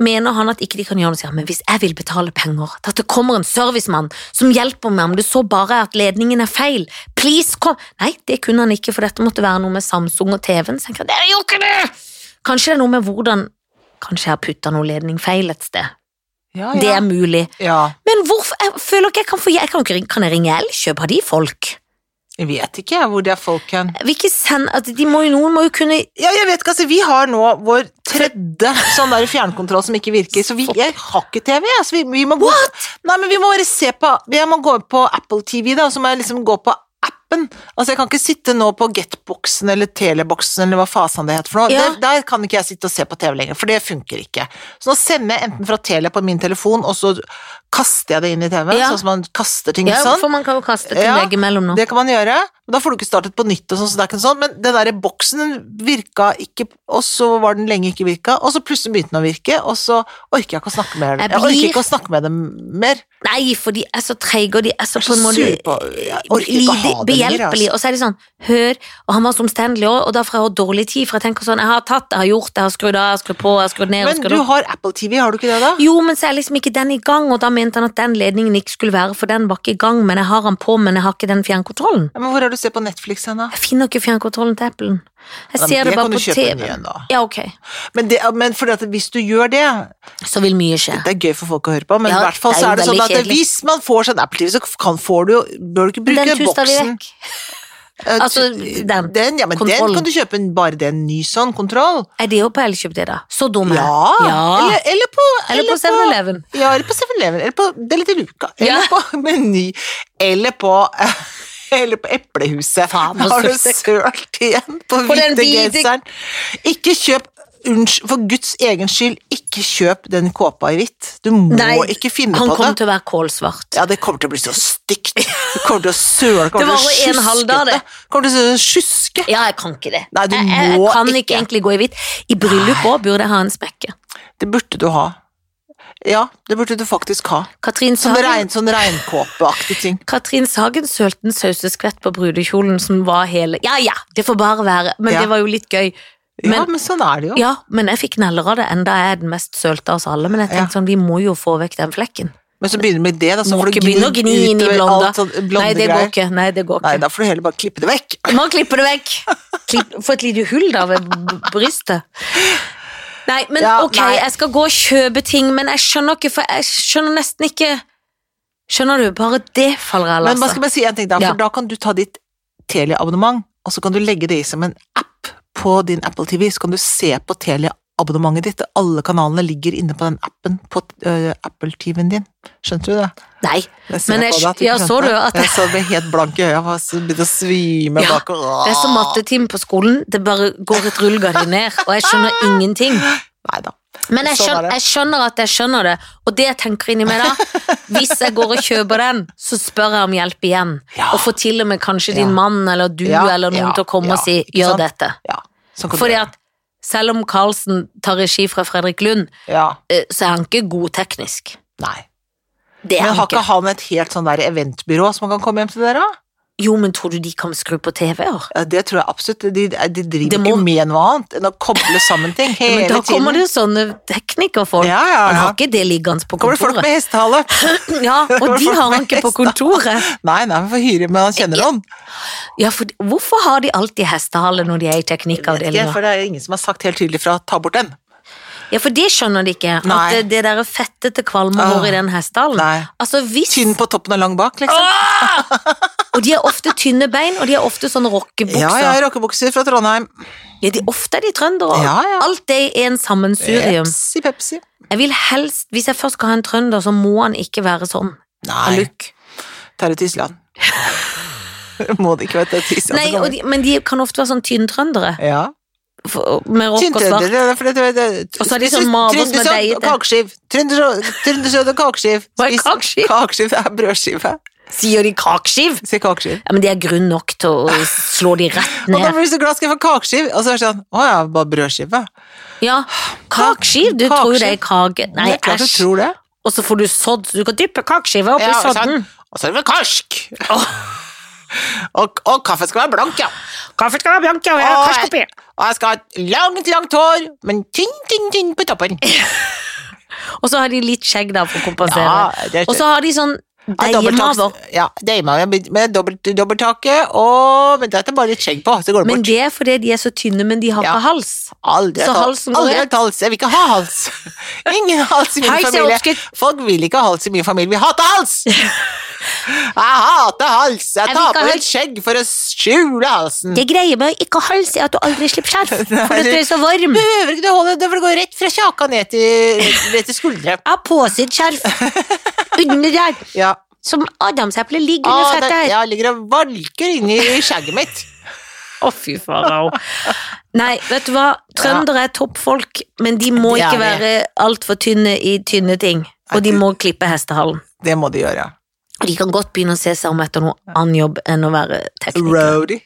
B: Mener han at ikke de kan gjøre noe, sier han, men hvis jeg vil betale penger, til at det kommer en servicemann som hjelper meg om det så bare er at ledningen er feil, please kom Nei, det kunne han ikke, for dette måtte være noe med Samsung og TV-en. Så jeg tenker, jeg, det gjør ikke det! Kanskje det er noe med hvordan Kanskje jeg har putta noe ledning feil et sted.
A: Ja,
B: Det
A: ja.
B: er mulig.
A: ja.
B: Men hvorfor, jeg føler ikke jeg kan få jeg kan, jo ikke, ringe- kan jeg ringe Elkjøp? Har de folk?
A: Jeg vet ikke jeg, hvor det er folk hen.
B: Jeg vil ikke sende, at altså, de må, jo- Noen må jo kunne
A: Ja, jeg vet ikke, altså vi har nå vår tredje sånn der fjernkontroll som ikke virker, så vi, jeg har ikke TV, jeg, så vi, vi må gå Nei, men vi må bare se på Jeg må gå på Apple TV, da, og så må jeg liksom gå på appen. Altså, jeg kan ikke sitte nå på Getboxen eller Teleboxen eller hva fasen det heter for noe.
B: Ja.
A: Der, der kan ikke jeg sitte og se på TV lenger, for det funker ikke. Så nå sender jeg enten fra Tele på min telefon, og så kaster jeg det inn i TV-en,
B: Ja.
A: sånn som man kaster ting
B: Ja,
A: sånn.
B: for man kan jo kaste ting
A: Ja,
B: veggimellom nå.
A: Det kan man gjøre. Da får du ikke startet på nytt, og sånn, så det er ikke noe sånt. men den der boksen virka ikke, og så var den lenge ikke virka, og så plutselig begynte den å virke, og så orker jeg ikke å snakke med dem.
B: Jeg
A: Jeg orker
B: blir-
A: ikke å snakke med dem mer.
B: Nei, for de er så treige, og de er så
A: Jeg
B: på
A: er så
B: en måte
A: sur på Jeg orker ikke å ha
B: lite
A: dem mer.
B: behjelpelig.
A: Altså.
B: Og så er de sånn Hør Og han var så omstendelig òg, og da får jeg også dårlig tid, for jeg tenker sånn Jeg har tatt, jeg har gjort, jeg har skrudd av, jeg har skrudd på, jeg har skrudd ned jeg har
A: Men
B: skrudd
A: du
B: opp.
A: har Apple TV, har du ikke det, da?
B: Jo, men så er liksom ikke den i gang, og da mente han at den ledningen ikke skulle være, for den var ikke i gang, men jeg har den på, men jeg har ikke den fjernkontrollen.
A: Ja, Men hvor er det du ser på Netflix hen, da?
B: Jeg finner ikke fjernkontrollen til Applen.
A: Ja,
B: Jeg
A: men
B: ser det
A: det
B: bare
A: kan du
B: på
A: kjøpe en
B: TV.
A: ny en, da.
B: Ja, ok.
A: Men, det, men fordi at hvis du gjør det
B: Så vil mye skje.
A: Det er gøy for folk å høre på, men
B: Ja,
A: i hvert fall
B: det er
A: så
B: jo
A: er det sånn
B: veldig
A: at det-
B: kjedelig.
A: hvis man får sånn Apple TV, så kan, får du jo Bør du ikke bruke
B: Den tuster vi
A: boksen
B: vekk.
A: Eh,
B: Altså,
A: t-
B: den.
A: ja, men
B: Kontrollen.
A: den kan du kjøpe en- bare det er en ny sånn kontroll.
B: Er det jo på Elkjøp, det, da? Så dum er jeg.
A: Ja, Eller,
B: ja.
A: eller på
B: Eller på 7-Eleven.
A: Ja, eller på 7-Eleven, eller på Deli til Luca, eller
B: Ja.
A: på Meny, eller på [laughs] eller på Eplehuset.
B: Faen,
A: Nå
B: nå
A: har du
B: sølte
A: sølt igjen på,
B: På den
A: hvite
B: hvite-
A: genseren. Ikke kjøp Unnskyld, for Guds egen skyld, ikke kjøp den kåpa i hvitt. Du må ikke finne
B: han
A: på
B: kommer
A: det.
B: til å være kålsvart.
A: Ja, det kommer til å bli så
B: [laughs]
A: stygt. Du kommer til å søle. Det
B: Det varer en halv dag, det.
A: Kommer til å sjuske.
B: Ja, jeg kan ikke det.
A: Nei, du
B: jeg, jeg, jeg
A: må
B: kan ikke
A: ikke.
B: egentlig gå i hvitt. I bryllup òg burde jeg ha en smekke.
A: Det burde du ha. Ja, det burde du faktisk ha.
B: Katrin
A: Sånn,
B: Sagen,
A: regn, sånn regnkåpeaktig ting.
B: Katrin Sagen sølte en sauseskvett på brudekjolen som var hele Ja ja, det får bare være, men
A: Ja.
B: det var jo litt gøy.
A: ja,
B: Men,
A: men sånn er det jo.
B: ja. men jeg fikk neller av det, enda jeg er den mest sølte av oss alle. Men jeg tenkte sånn, vi må jo få vekk den flekken.
A: Men så begynner du med det, da. Så
B: Må
A: får du
B: ikke begynne å gni inn i
A: utover
B: blonda.
A: alt sånn blonde
B: Nei, det går
A: greier.
B: ikke. Nei, det går
A: Nei,
B: ikke.
A: da får du heller bare klippe det vekk.
B: Du må klippe det vekk. Klipp, få et lite hull da ved b- brystet. Nei, men
A: Ja,
B: ok,
A: nei.
B: jeg skal gå og kjøpe ting, men jeg skjønner ikke, for jeg skjønner nesten ikke Skjønner du? Bare det faller jeg av altså.
A: Men man
B: lasset.
A: skal bare si en ting, da.
B: Ja.
A: For da kan du ta ditt Telia-abonnement, og så kan du legge det i som en app på din Apple TV. Så kan du se på Telia-abonnementet ditt. Alle kanalene ligger inne på den appen på øh, Apple-TV-en din. Skjønte du det?
B: Nei.
A: Jeg ser
B: Men jeg
A: på deg at
B: sk- ja,
A: ikke
B: så
A: skjønte
B: du at-
A: Jeg så ble helt blank i øya, og så begynte å svime
B: Ja,
A: bakover.
B: Det er som
A: Ah.
B: mattetime på skolen. Det bare går et rullegardin ned, og jeg
A: Ah.
B: skjønner ingenting.
A: Nei da.
B: Men jeg
A: Sånn er
B: skjønner,
A: det.
B: jeg skjønner at jeg skjønner det, og det jeg tenker inni meg
A: [laughs]
B: da Hvis jeg går og kjøper den, så spør jeg om hjelp igjen.
A: Ja.
B: Og får til og med kanskje din
A: Ja.
B: mann eller du
A: Ja,
B: eller noen
A: ja,
B: til å komme
A: ja,
B: og si
A: ikke
B: 'gjør
A: sant?
B: dette'.
A: Ja, sånn kan du
B: Fordi
A: gjøre.
B: at selv om Carlsen tar regi fra Fredrik Lund,
A: ja.
B: eh, så er han ikke god teknisk.
A: Nei.
B: Det er
A: Men
B: han
A: har ikke
B: ikke.
A: han et helt sånn der eventbyrå som man kan komme hjem til dere? da?
B: Jo, men tror du de kan skru på TV-er?
A: Ja, Det tror jeg absolutt. De, de
B: Det
A: driver
B: må-
A: ikke med noe annet enn å koble sammen [laughs] ting
B: Ja,
A: hele
B: men da
A: tiden.
B: kommer det jo sånne teknikerfolk.
A: ja, ja,
B: Han
A: ja.
B: har ikke det liggende på
A: Kommer det folk
B: kontoret.
A: med hestehale? [laughs]
B: [laughs] Ja, og
A: Kommer
B: de
A: folk
B: har han
A: med
B: ikke på
A: hest, da?
B: kontoret.
A: Nei, nei, vi får hyre men han kjenner noen.
B: Ja, for hvorfor har de alltid hestehale når de er i
A: Ikke,
B: teknikkavdelinga?
A: for det er ingen som har sagt helt tydelig fra ta bort den.
B: Ja, for det skjønner de ikke. At
A: Nei.
B: det, det derre fettete kvalme
A: Åh,
B: hår i den hestehalen.
A: Nei.
B: Altså hvis
A: Tynn på toppen og lang bak, liksom.
B: Og de har ofte tynne bein, og de har ofte sånne rockebukser.
A: ja, ja, rockebukser fra Trondheim.
B: Ja, de, ofte er de trøndere.
A: Ja, ja.
B: Alt det er en sammensurium.
A: Pepsi, Pepsi.
B: Jeg vil helst, Hvis jeg først skal ha en trønder, så må han ikke være sånn. av
A: Nei,
B: look.
A: tar det til [laughs] Island. Må det ikke være til Island.
B: Nei, og de, men de kan ofte være sånn tynntrøndere.
A: Ja.
B: for- Med rock og svart.
A: Tynntrøndere, for det, det, det,
B: Og så har de sånn maver som er
A: Trøndersøt
B: deigete.
A: og Kakeskiv. Trøndersøt trøndersøt og kakeskiv.
B: [laughs] Hva er
A: Spis-
B: kakeskiv?
A: Kakeskiv er brødskive.
B: Sier de kakskiv?
A: Si kakeskiv.
B: Ja, men de er grunn nok til å slå de rett
A: Og da
B: ned.
A: blir du så glad skal jeg få kakeskiv, og så er det sånn Å ja, bare brødskive.
B: Ja, kakskiv? Du tror jo det er kake. Nei,
A: det er klart du
B: æsj.
A: tror det.
B: Og så får du sådd, så du kan dyppe kakskiva oppi
A: Ja, og så-
B: sodden.
A: Og så er det vel
B: [laughs]
A: karsk. Og, og kaffen skal være blank, ja.
B: Kaffen skal være blank, ja, og jeg har
A: Åh,
B: karsk oppi.
A: Og jeg skal ha et langt, langt hår, men tynn, tynn, tynn på toppen.
B: Og så har de litt skjegg da for å kompensere.
A: Ja, det er
B: og så har de sånn
A: Ja, dobbelttaks-
B: deigemaver.
A: Ja, deigmaver med dobbelt, dobbelttake, og Men dette er bare litt skjegg på, så går det
B: Men
A: bort.
B: det er fordi de er så tynne, men de har
A: Ja.
B: ikke hals.
A: Aldri,
B: så
A: et hal-
B: halsen går
A: aldri
B: rett.
A: et hals. Jeg vil ikke ha [laughs] hals. Ingen hals i min
B: Hals er
A: familie.
B: oppskrytt.
A: Folk vil ikke ha hals i min familie. Vi hater hals! [laughs] Jeg hater hals.
B: Jeg
A: Jeg
B: vil
A: tar
B: ikke
A: på
B: ha
A: litt skjegg for å skjule halsen.
B: Det greia med å ikke ha hals er at du aldri slipper
A: [laughs]
B: skjerf, for at du er så varm.
A: Du behøver ikke å holde, det vil gå rett fra kjaka ned til, ned til skuldre.
B: Jeg har påsydd skjerf under der,
A: [laughs] Ja.
B: som adamseplet ligger
A: Ah,
B: under
A: det,
B: fettet her.
A: jeg ligger og valker inni skjegget mitt.
B: Å, fy farao. Nei, vet du hva? Trøndere er toppfolk, men de må
A: Det er
B: ikke
A: de.
B: være altfor tynne i tynne ting. Og de må klippe hestehalen.
A: Det må de gjøre.
B: De kan godt begynne å se seg om etter noe annen jobb enn å være tekniker.
A: Roadie.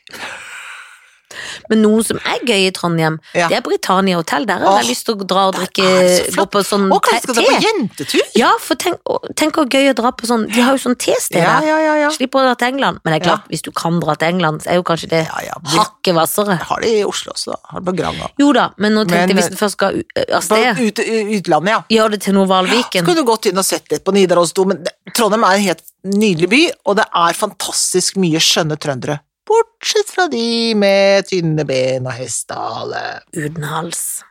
B: Men noe som er gøy i Trondheim,
A: Ja.
B: det er Britannia Hotel. Der har jeg
A: Åh,
B: lyst til å dra og
A: der
B: drikke
A: er det så
B: gå
A: flott.
B: på sånn
A: Å,
B: te.
A: kanskje skal dere på jentetur?
B: Ja, for tenk, å, tenk hvor gøy å dra på sånn De har jo sånn tested
A: Ja,
B: der.
A: ja, ja. ja.
B: Slipper å dra til England. Men det er klart, hvis du kan dra til England, så er jo kanskje det
A: ja, ja. Vi
B: hakket hvassere.
A: har det i Oslo også, da. Har det på Granga.
B: Jo da, men nå tenkte
A: Men-
B: jeg hvis du først skal u- eh, av
A: På
B: sted,
A: ut, i utlandet, ja.
B: gjør det til noe Valviken.
A: Skulle du gått inn og sett litt på Nidarosdo, men det- Trondheim er en helt nydelig by, og det er fantastisk mye skjønne trøndere. Bortsett fra de med tynne ben og hestehale.
B: Uten hals.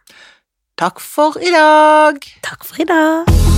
A: Takk for i dag!
B: Takk for i dag.